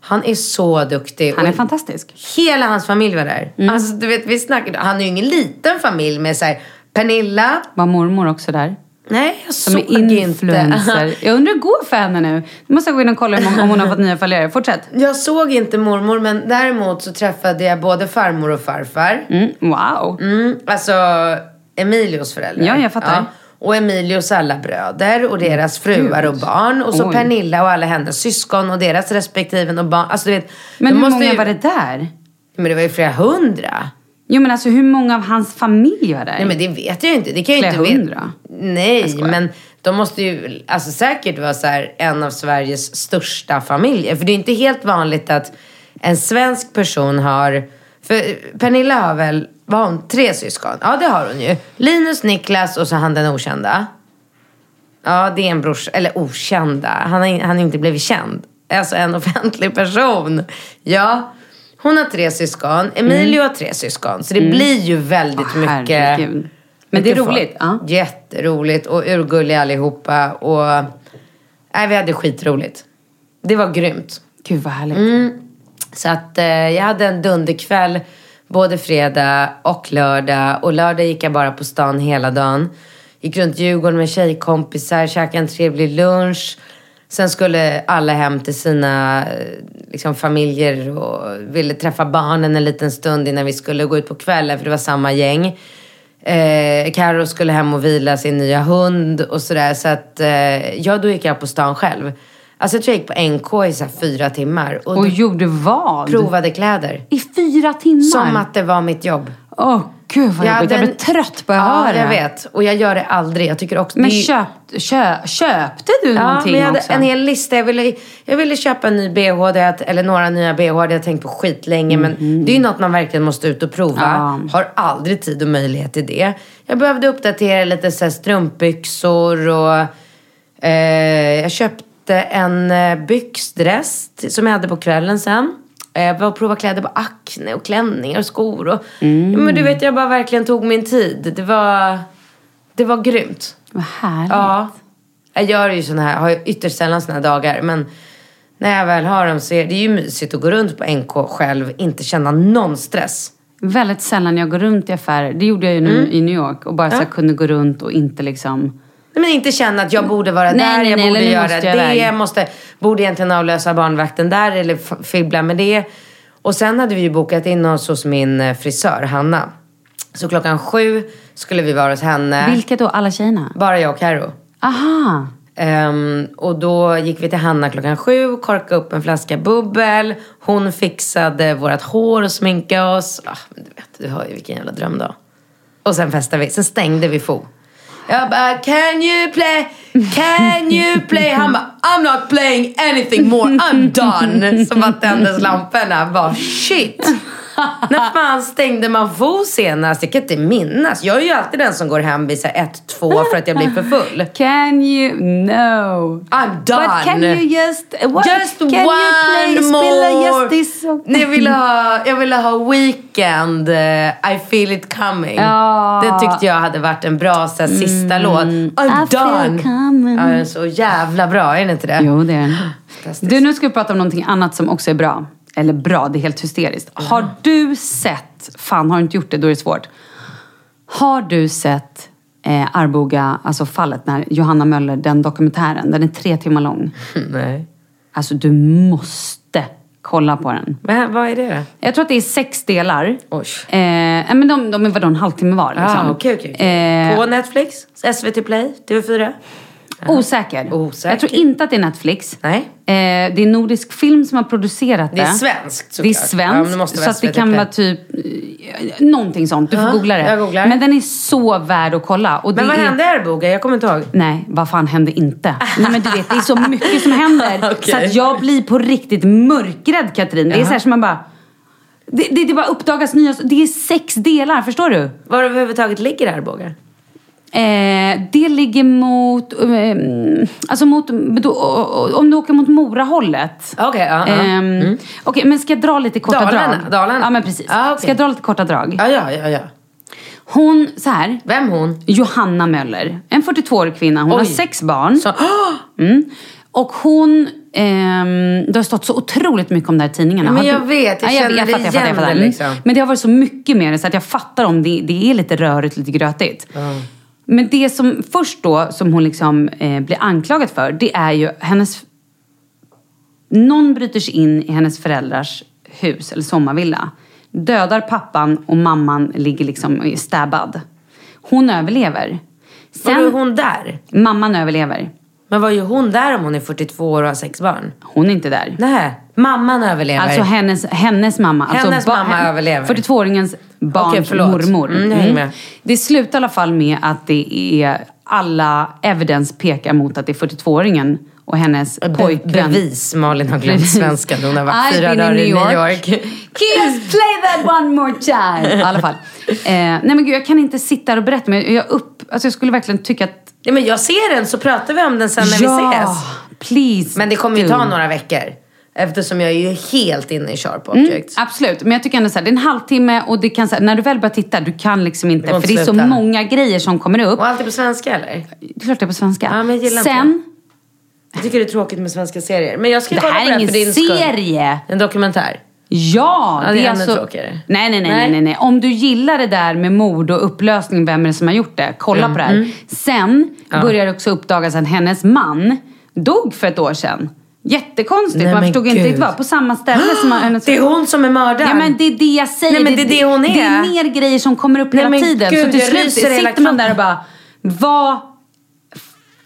Speaker 3: Han är så duktig.
Speaker 1: Han är
Speaker 3: Och
Speaker 1: fantastisk. Mm.
Speaker 3: Hela hans familj var där. Alltså, du vet, vi snackade. Han är ju ingen liten familj med så här, Pernilla.
Speaker 1: Var mormor också där?
Speaker 3: Nej, jag
Speaker 1: Som
Speaker 3: såg
Speaker 1: är
Speaker 3: inte.
Speaker 1: influencer. Jag undrar hur det går för henne nu. Nu måste jag gå in och kolla hur många- om hon har fått nya följare. Fortsätt.
Speaker 3: Jag såg inte mormor, men däremot så träffade jag både farmor och farfar.
Speaker 1: Mm, wow.
Speaker 3: Mm, alltså Emilios föräldrar.
Speaker 1: Ja, jag fattar. Mm.
Speaker 3: Och Emilios alla bröder och deras fruar och barn. Och så
Speaker 1: Oj.
Speaker 3: Pernilla och alla hennes syskon och deras respektive och barn. Alltså du vet.
Speaker 1: Men
Speaker 3: de
Speaker 1: hur
Speaker 3: måste
Speaker 1: många
Speaker 3: ju...
Speaker 1: var det där?
Speaker 3: Men det var ju flera hundra.
Speaker 1: Jo men alltså hur många av hans familj var där?
Speaker 3: Nej men det vet jag ju inte. Det kan jag ju
Speaker 1: Flera
Speaker 3: inte veta.
Speaker 1: hundra?
Speaker 3: Nej men de måste ju alltså, säkert vara så här, en av Sveriges största familjer. För det är ju inte helt vanligt att en svensk person har... För Pernilla har väl, vad har hon, tre syskon? Ja det har hon ju. Linus, Niklas och så han den okända. Ja, det är en brors, eller okända. Han har, han har inte blivit känd. Alltså en offentlig person. Ja. Hon har tre syskon. Emilio har tre syskon. Så det blir ju väldigt
Speaker 1: Mm. Åh,
Speaker 3: mycket.
Speaker 1: herregud. Men det är
Speaker 3: mycket folk.
Speaker 1: roligt, ja.
Speaker 3: Jätteroligt. Och urgulliga allihopa. Och nej, vi hade skitroligt. Det var grymt.
Speaker 1: Gud vad härligt.
Speaker 3: Mm. Så att eh, jag hade en dunderkväll både fredag och lördag. Och lördag gick jag bara på stan hela dagen. Gick runt Djurgården med tjejkompisar, käkade en trevlig lunch. Sen skulle alla hem till sina eh, liksom, familjer och ville träffa barnen en liten stund innan vi skulle gå ut på kvällen för det var samma gäng. Eh, Karo skulle hem och vila sin nya hund och sådär. Så att eh, ja, då gick jag på stan själv. Alltså jag tror jag gick på NK i så här fyra timmar. Och
Speaker 1: Och
Speaker 3: då-
Speaker 1: gjorde vad?
Speaker 3: provade kläder.
Speaker 1: I fyra timmar?
Speaker 3: Som att det var mitt jobb.
Speaker 1: Åh Gud vad
Speaker 3: Ja,
Speaker 1: jobbigt. Jag
Speaker 3: den-
Speaker 1: blir trött på att
Speaker 3: Ja,
Speaker 1: höra det.
Speaker 3: jag vet. Och jag gör det aldrig. Jag tycker också...
Speaker 1: Men
Speaker 3: det är ju-
Speaker 1: köp, köp, köpte du
Speaker 3: Ja,
Speaker 1: någonting
Speaker 3: men jag hade
Speaker 1: också?
Speaker 3: en hel lista. Jag ville, jag ville köpa en ny bh, det hade, eller några nya bh, det hade jag tänkt på skitlänge. Men det är ju något man verkligen måste ut och prova.
Speaker 1: Mm, Ja.
Speaker 3: Har aldrig tid och möjlighet till det. Jag behövde uppdatera lite så här, strumpbyxor och... Eh, jag köpte en eh, byxdress t- som jag hade på kvällen sen. Eh, Jag var och provade kläder på Acne och klänningar och skor. Och,
Speaker 1: Mm.
Speaker 3: ja, men du vet, jag bara verkligen tog min tid. Det var, det var grymt.
Speaker 1: Vad härligt.
Speaker 3: Ja. Jag gör ju såna här, har ju ytterst sällan såna här dagar. Men när jag väl har dem så är det ju mysigt att gå runt på NK själv, inte känna någon stress.
Speaker 1: Väldigt sällan jag går runt i affärer. Det gjorde jag ju
Speaker 3: Mm.
Speaker 1: nu i New York. Och bara så jag kunde gå runt och inte liksom...
Speaker 3: Nej, Men inte känna att jag borde vara
Speaker 1: Nej,
Speaker 3: där,
Speaker 1: nej,
Speaker 3: jag
Speaker 1: nej,
Speaker 3: borde
Speaker 1: eller nu
Speaker 3: göra
Speaker 1: måste jag
Speaker 3: det,
Speaker 1: iväg.
Speaker 3: jag måste, borde egentligen avlösa barnvakten där eller f- fibbla med det. Och sen hade vi ju bokat in oss hos min eh, frisör, Hanna. Så klockan sju skulle vi vara hos henne.
Speaker 1: Vilka då? Alla tjejerna?
Speaker 3: Bara jag och Karo.
Speaker 1: Aha!
Speaker 3: Ehm, och då gick vi till Hanna klockan sju, korkade upp en flaska bubbel. Hon fixade vårt hår och sminkade oss. Ah, men du vet, du hör ju vilken jävla drömdag. Och sen festade vi. Sen stängde vi Fo. Jag bara, can you play? Can you play? Han bara, I'm not playing anything more, I'm done. Så bara tändes lamporna. Bara, shit. När fan stängde man Fo senast? Jag kan inte minnas. Jag är ju alltid den som går hem vid så här ett, två för att jag blir för full.
Speaker 1: Can you... No.
Speaker 3: I'm done.
Speaker 1: But can you just... What,
Speaker 3: Just
Speaker 1: can
Speaker 3: one
Speaker 1: you play,
Speaker 3: more!
Speaker 1: Spela just this song?
Speaker 3: Nej, jag, ville ha, jag ville ha Weekend, eh, I feel it coming.
Speaker 1: Ja. Mm.
Speaker 3: Det tyckte jag hade varit en bra så här, sista låt. I'm
Speaker 1: I feel
Speaker 3: done!
Speaker 1: coming.
Speaker 3: Ja, den är så jävla bra, är den inte det?
Speaker 1: Jo, det är den. Du, nu ska vi prata om någonting annat som också är bra. Eller bra, det är helt hysteriskt. Har du sett, fan har du inte gjort det, då är det svårt. Har du sett eh, Arboga, alltså fallet när Johanna Möller, den dokumentären, den är tre timmar
Speaker 3: Mm.
Speaker 1: lång.
Speaker 3: Nej.
Speaker 1: Alltså du måste kolla på den.
Speaker 3: Men vad är det
Speaker 1: Jag tror att det är sex delar.
Speaker 3: Oj.
Speaker 1: Eh, nej, men de, de är vadå, en halvtimme var
Speaker 3: då?
Speaker 1: liksom.
Speaker 3: Ah, okej, okej, okej.
Speaker 1: Eh,
Speaker 3: På Netflix, SVT Play, TV4?
Speaker 1: Osäker.
Speaker 3: Osäker.
Speaker 1: Jag tror inte att det är Netflix.
Speaker 3: Nej.
Speaker 1: Eh, det är Nordisk Film som har producerat det.
Speaker 3: Det är svenskt, såklart.
Speaker 1: Det är
Speaker 3: Ja, men det
Speaker 1: svenskt.
Speaker 3: måste
Speaker 1: så
Speaker 3: vara
Speaker 1: att det
Speaker 3: SVT
Speaker 1: kan
Speaker 3: Play.
Speaker 1: vara typ... eh, Någonting sånt. Du får
Speaker 3: Ja,
Speaker 1: googla det.
Speaker 3: jag googlar.
Speaker 1: Men den är så värd att kolla. Och
Speaker 3: Men
Speaker 1: det
Speaker 3: vad
Speaker 1: är...
Speaker 3: hände i Arboga? Jag kommer inte ihåg.
Speaker 1: Nej, vad fan hände inte? Nej, men du vet, det är så mycket som händer.
Speaker 3: Okej.
Speaker 1: Så att jag blir på riktigt mörkrädd, Katrin. Det är så här som man bara... Det, det, det bara uppdagas nya... Det är sex delar, förstår du?
Speaker 3: Var överhuvudtaget ligger Arboga?
Speaker 1: Eh, det ligger mot... Eh, alltså mot... Då, om du åker mot Morahållet.
Speaker 3: Okej, ja, ja.
Speaker 1: Ehm, Okej, men ska jag dra lite korta
Speaker 3: Dalarna,
Speaker 1: drag?
Speaker 3: Dalarna.
Speaker 1: Ja, men precis.
Speaker 3: Ah, okej.
Speaker 1: Ska jag dra lite korta drag?
Speaker 3: Ja, ja, ja, ja.
Speaker 1: Hon, så här.
Speaker 3: Vem hon?
Speaker 1: Johanna Möller. En 42-årig kvinna. Hon har sex barn.
Speaker 3: Så,
Speaker 1: Mm. Och hon... ehm, det har stått så otroligt mycket om det här i tidningarna.
Speaker 3: Men
Speaker 1: Har
Speaker 3: jag
Speaker 1: du-
Speaker 3: vet, jag
Speaker 1: Ja,
Speaker 3: känner
Speaker 1: fattar, fattar,
Speaker 3: igen
Speaker 1: fattar.
Speaker 3: det
Speaker 1: Mm.
Speaker 3: liksom.
Speaker 1: Men det har varit så mycket med det så att jag fattar om det, det är lite rörigt, lite grötigt. Men det som först då, som hon liksom eh, blir anklagad för, det är ju hennes... Någon bryter sig in i hennes föräldrars hus, eller sommarvilla. Dödar pappan och mamman ligger liksom och är stabbad. Hon överlever.
Speaker 3: var
Speaker 1: Sen,
Speaker 3: du hon där?
Speaker 1: Mamman överlever.
Speaker 3: Men vad gör hon där om hon är 42 år och har sex barn?
Speaker 1: Hon är inte där.
Speaker 3: Nej, mamman överlever.
Speaker 1: Alltså hennes, hennes mamma.
Speaker 3: Hennes
Speaker 1: alltså ba-
Speaker 3: mamma överlever.
Speaker 1: 42-åringens
Speaker 3: Okej,
Speaker 1: barns
Speaker 3: förlåt.
Speaker 1: mormor.
Speaker 3: Mm, jag hänger med.
Speaker 1: Det slutar i alla fall med att det är alla evidens pekar mot att det är 42-åringen och hennes
Speaker 3: Be-
Speaker 1: pojkvän.
Speaker 3: bevis, Malin har glömt svenskan. Hon har varit
Speaker 1: I've
Speaker 3: fyra
Speaker 1: been
Speaker 3: dagar i New York.
Speaker 1: Kids play that one more time. I alla fall. Eh, nej men gud, jag kan inte sitta här och berätta. Men jag, upp, alltså jag skulle verkligen tycka att...
Speaker 3: Nej, men jag ser den så pratar vi om den sen när
Speaker 1: ja,
Speaker 3: vi ses.
Speaker 1: please.
Speaker 3: Men det kommer ju ta
Speaker 1: do.
Speaker 3: några veckor. Eftersom jag är ju helt inne i Sharp
Speaker 1: Mm.
Speaker 3: Objects.
Speaker 1: Absolut, men jag tycker ändå så här, det är en halvtimme och det kan, så här, när du väl börjar titta, du kan liksom inte,
Speaker 3: Det går
Speaker 1: för
Speaker 3: inte
Speaker 1: det är så
Speaker 3: sluta.
Speaker 1: många grejer som kommer upp.
Speaker 3: Och allt är på svenska eller?
Speaker 1: Det är klart det är på svenska.
Speaker 3: Ja, men jag gillar inte
Speaker 1: Sen,
Speaker 3: Jag tycker det är tråkigt med svenska serier. Men jag ska
Speaker 1: det
Speaker 3: kolla
Speaker 1: här
Speaker 3: på
Speaker 1: är
Speaker 3: det här
Speaker 1: ingen
Speaker 3: för din skull.
Speaker 1: serie!
Speaker 3: En dokumentär.
Speaker 1: Ja,
Speaker 3: Ja, det är ännu
Speaker 1: alltså...
Speaker 3: tråkigare.
Speaker 1: Nej, nej, nej,
Speaker 3: Nej.
Speaker 1: nej, nej, nej. Om du gillar det där med mord och upplösning, vem är det som har gjort det?
Speaker 3: Mm.
Speaker 1: Kolla på det här. Sen börjar det också uppdagas att hennes man dog för ett år sedan. Jättekonstigt,
Speaker 3: Nej,
Speaker 1: man
Speaker 3: men
Speaker 1: förstod inte
Speaker 3: gud.
Speaker 1: riktigt vad. På samma ställe som hennes...
Speaker 3: Det är hon som är mördaren.
Speaker 1: Ja men det är det jag säger.
Speaker 3: Nej, men det är det hon är.
Speaker 1: Det är mer grejer som kommer upp
Speaker 3: Nej,
Speaker 1: hela
Speaker 3: men
Speaker 1: tiden.
Speaker 3: gud,
Speaker 1: så till
Speaker 3: jag
Speaker 1: slut
Speaker 3: ryser i hela
Speaker 1: sitter man där och bara, vad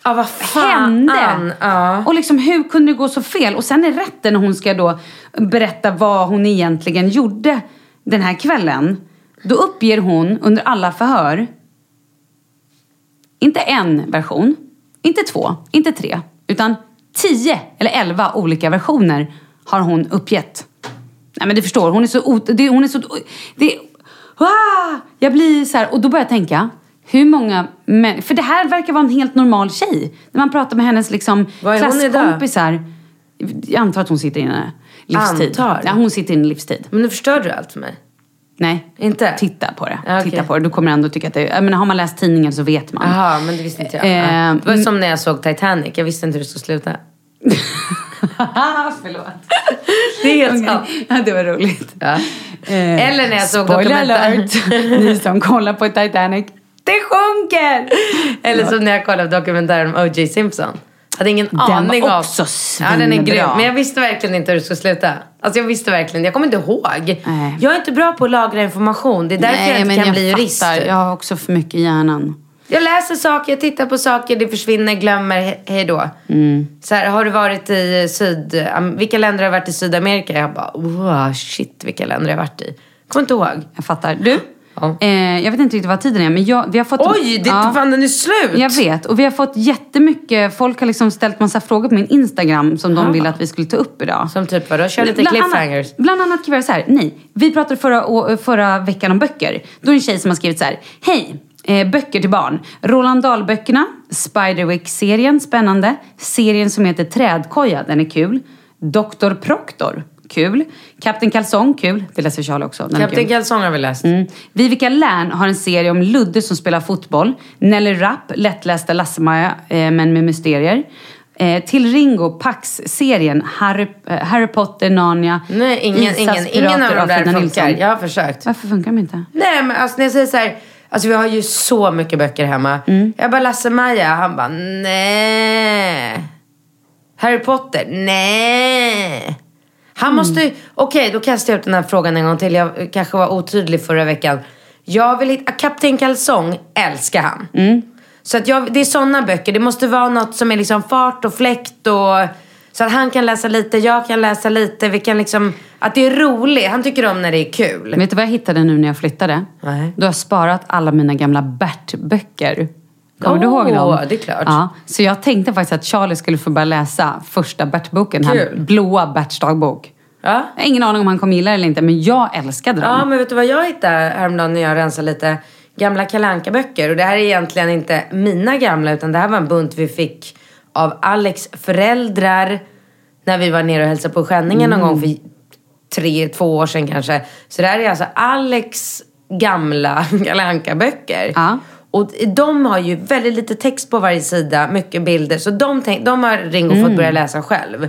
Speaker 3: Ja, vad fan.
Speaker 1: hände?
Speaker 3: Ja.
Speaker 1: Och liksom hur kunde det gå så fel? Och sen är rätten när hon ska då berätta vad hon egentligen gjorde den här kvällen. Då uppger hon under alla förhör, inte en version, inte två, inte tre, utan tio eller elva olika versioner har hon uppgett. Nej men du förstår, hon är så... Ot- det, hon är så det, ah, jag blir så här, och då börjar jag tänka, hur många män, För det här verkar vara en helt normal tjej. När man pratar med hennes liksom,
Speaker 3: Vad är hon idag?
Speaker 1: klasskompisar. Jag antar att hon sitter inne livstid.
Speaker 3: Antar?
Speaker 1: Ja, hon sitter inne livstid.
Speaker 3: Men nu förstör du allt för mig.
Speaker 1: Nej,
Speaker 3: Inte?
Speaker 1: titta på det.
Speaker 3: Ja, okej.
Speaker 1: Titta på det. Du kommer ändå tycka att det är... jag menar, har man läst tidningen så vet man.
Speaker 3: Jaha, men det visste inte jag.
Speaker 1: Eh,
Speaker 3: Ja. det var ju som när jag såg Titanic. Jag visste inte hur det skulle sluta.
Speaker 1: Förlåt.
Speaker 3: Det är helt sant.
Speaker 1: Okej. Ja, det var roligt.
Speaker 3: Ja.
Speaker 1: Eh,
Speaker 3: Eller när jag såg
Speaker 1: spoiler
Speaker 3: dokumentär-
Speaker 1: alert, ni som kollar på Titanic.
Speaker 3: Det sjunker! Eller som när jag kollade dokumentären om O.J. Simpson. Hade ingen
Speaker 1: Den
Speaker 3: aning
Speaker 1: var
Speaker 3: om.
Speaker 1: också
Speaker 3: Ja, den är
Speaker 1: svinbra.
Speaker 3: grym. Men jag visste verkligen inte hur det skulle sluta. Alltså jag visste verkligen. Jag kommer inte ihåg.
Speaker 1: Nej.
Speaker 3: Jag är inte bra på att lagra information. Det är därför jag inte kan bli jurist.
Speaker 1: fattar. Jag har också för mycket i hjärnan.
Speaker 3: Jag läser saker, jag tittar på saker, det försvinner, glömmer, he- hej då.
Speaker 1: Mm.
Speaker 3: Så här, har du varit i Syd... am- Vilka länder har du varit i Sydamerika? Jag bara, wow, shit vilka länder har jag varit i? Kommer inte ihåg.
Speaker 1: Jag fattar. Du,
Speaker 3: Ja.
Speaker 1: eh, jag vet inte riktigt vad tiden är, men jag, vi har fått...
Speaker 3: Oj, det är
Speaker 1: Ja.
Speaker 3: inte fan den är slut!
Speaker 1: Jag vet, och vi har fått jättemycket, folk har liksom ställt massa frågor på min Instagram som de ville att vi skulle ta upp idag.
Speaker 3: Som typ vadå, kör lite
Speaker 1: Bland
Speaker 3: cliffhangers.
Speaker 1: Annat, bland annat kan vi göra så här, nej, vi pratade förra, å- förra veckan om böcker. Då är det en tjej som har skrivit så här, hej, eh, böcker till barn. Roland Dahl-böckerna, Spiderwick-serien, spännande. Serien som heter Trädkoja, den är kul. Doktor Proktor, kul. Kapten Kalsong, kul. Det läser Charlie också. den är kul.
Speaker 3: Kapten Kalsong har vi läst.
Speaker 1: Mm. Vivica Lärn har en serie om Ludde som spelar fotboll. Nelly Rapp, lättlästa Lasse-Maja, eh, men med mysterier. Eh, till Ringo, Pax-serien, Harry, eh, Harry Potter, Narnia,
Speaker 3: Nej, ingen,
Speaker 1: Isas
Speaker 3: ingen, ingen av
Speaker 1: pirater
Speaker 3: de
Speaker 1: och
Speaker 3: där
Speaker 1: Frida
Speaker 3: funkar.
Speaker 1: Nilsson.
Speaker 3: Jag har försökt.
Speaker 1: Varför funkar de inte?
Speaker 3: Nej men alltså när jag säger så här, alltså vi har ju så mycket böcker hemma. Jag bara Lasse-Maja, han bara nej. Harry Potter, nej. Han måste ju, okej då kastar jag ut den här frågan en gång till. Jag eh, kanske var otydlig förra veckan. Jag vill hitta, Kapten Kalsong älskar han. Så att jag, det är sådana böcker. Det måste vara något som är liksom fart och fläkt och så att han kan läsa lite, jag kan läsa lite. Vi kan liksom, att det är roligt. Han tycker om när det är kul.
Speaker 1: Vet du vad jag hittade nu när jag flyttade?
Speaker 3: Nej.
Speaker 1: Då har jag sparat alla mina gamla Bert-böcker. Kommer du
Speaker 3: Åh,
Speaker 1: ihåg dem?
Speaker 3: det är klart.
Speaker 1: Ja, så jag tänkte faktiskt att Charlie skulle få börja läsa första Bert-boken. här
Speaker 3: Kul.
Speaker 1: Blåa Berts dagbok.
Speaker 3: Ja.
Speaker 1: Jag har ingen aning om han kommer gilla det eller inte, men jag älskade dem.
Speaker 3: Ja, men vet du vad jag hittade häromdagen när jag rensade lite? Gamla kalanka böcker Och det här är egentligen inte mina gamla, utan det här var en bunt vi fick av Alex föräldrar när vi var nere och hälsade på Skänningen någon gång för tre, två år sedan kanske. Så det här är alltså Alex gamla kalanka böcker
Speaker 1: Ja.
Speaker 3: Och de har ju väldigt lite text på varje sida, mycket bilder. Så de, tänk, de har Ringo fått börja läsa själv.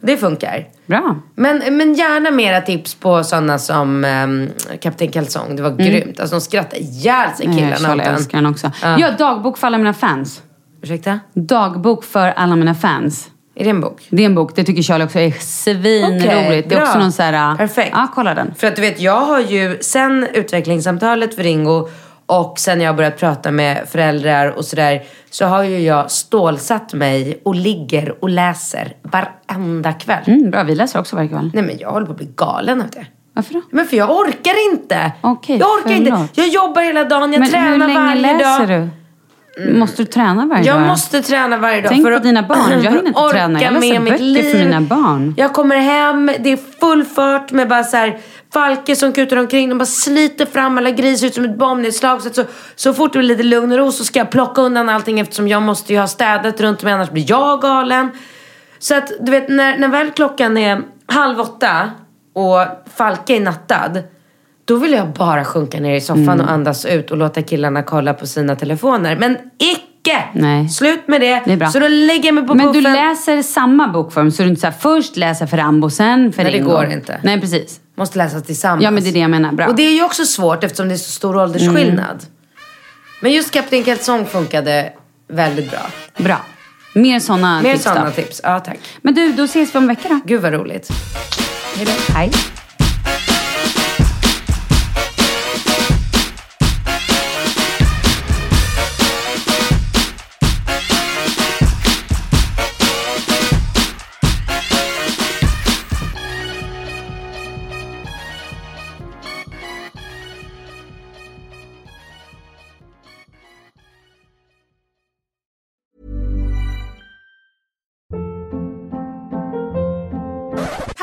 Speaker 3: Det funkar.
Speaker 1: Bra.
Speaker 3: Men, men gärna mera tips på sådana som ehm, Kapten Kalsong. Det var
Speaker 1: Mm.
Speaker 3: grymt. Alltså de skrattade ihjäl sig
Speaker 1: Eh,
Speaker 3: killarna
Speaker 1: Charlie
Speaker 3: åt den.
Speaker 1: älskar den också.
Speaker 3: Ja.
Speaker 1: Ja, dagbok för alla mina fans.
Speaker 3: Ursäkta?
Speaker 1: Dagbok för alla mina fans.
Speaker 3: Är det en bok?
Speaker 1: Det är en bok, det tycker Charlie också är svinroligt. det är
Speaker 3: bra.
Speaker 1: också någon så här... ah, äh,
Speaker 3: Perfekt.
Speaker 1: Ja, kolla den.
Speaker 3: För att du vet, jag har ju sen utvecklingssamtalet för Ringo och sen jag har börjat prata med föräldrar och sådär så har ju jag stålsatt mig och ligger och läser varenda kväll.
Speaker 1: Mm, bra, vi läser också varje kväll.
Speaker 3: Nej men jag håller på att bli galen av det.
Speaker 1: Varför då?
Speaker 3: Men för jag orkar inte!
Speaker 1: Okej,
Speaker 3: jag orkar inte.
Speaker 1: förlåt.
Speaker 3: Jag jobbar hela dagen, jag
Speaker 1: men
Speaker 3: tränar
Speaker 1: hur
Speaker 3: varje dag. Mm.
Speaker 1: länge läser du? Måste du träna varje
Speaker 3: Jag
Speaker 1: dag?
Speaker 3: måste träna varje dag.
Speaker 1: Tänk
Speaker 3: för
Speaker 1: på
Speaker 3: att-
Speaker 1: dina barn. Jag hinner inte
Speaker 3: orka
Speaker 1: träna. Jag läser
Speaker 3: med mitt
Speaker 1: böcker för
Speaker 3: liv.
Speaker 1: mina barn.
Speaker 3: Jag kommer hem, det är full fart med bara så här falker som kutar omkring. De bara sliter fram alla grejer, ser ut som ett bombnedslag. Så, att så, så fort det blir lite lugn och ro så ska jag plocka undan allting eftersom jag måste ju ha städat runt mig annars blir jag galen. Så att du vet när, när väl klockan är halv åtta och Falke är nattad. Då vill jag bara sjunka ner i soffan
Speaker 1: Mm.
Speaker 3: och andas ut och låta killarna kolla på sina telefoner. Men icke!
Speaker 1: Nej.
Speaker 3: Slut med det.
Speaker 1: Det är bra.
Speaker 3: Så då lägger jag mig på
Speaker 1: Men du
Speaker 3: puffen.
Speaker 1: läser samma bokform, så du inte så här, först läser för Rambo, sen för
Speaker 3: Nej, det
Speaker 1: Ringo.
Speaker 3: går inte.
Speaker 1: Nej, precis.
Speaker 3: Måste läsa tillsammans.
Speaker 1: Ja, men det är det jag menar. Bra.
Speaker 3: Och det är ju också svårt eftersom det är så stor åldersskillnad. Mm. Men just Kapten Kalsong funkade väldigt bra.
Speaker 1: Bra. Mer såna
Speaker 3: Mer
Speaker 1: tips då.
Speaker 3: sådana tips. Ja, tack.
Speaker 1: Men du, då ses vi om en vecka då.
Speaker 3: Gud vad roligt.
Speaker 1: Hej.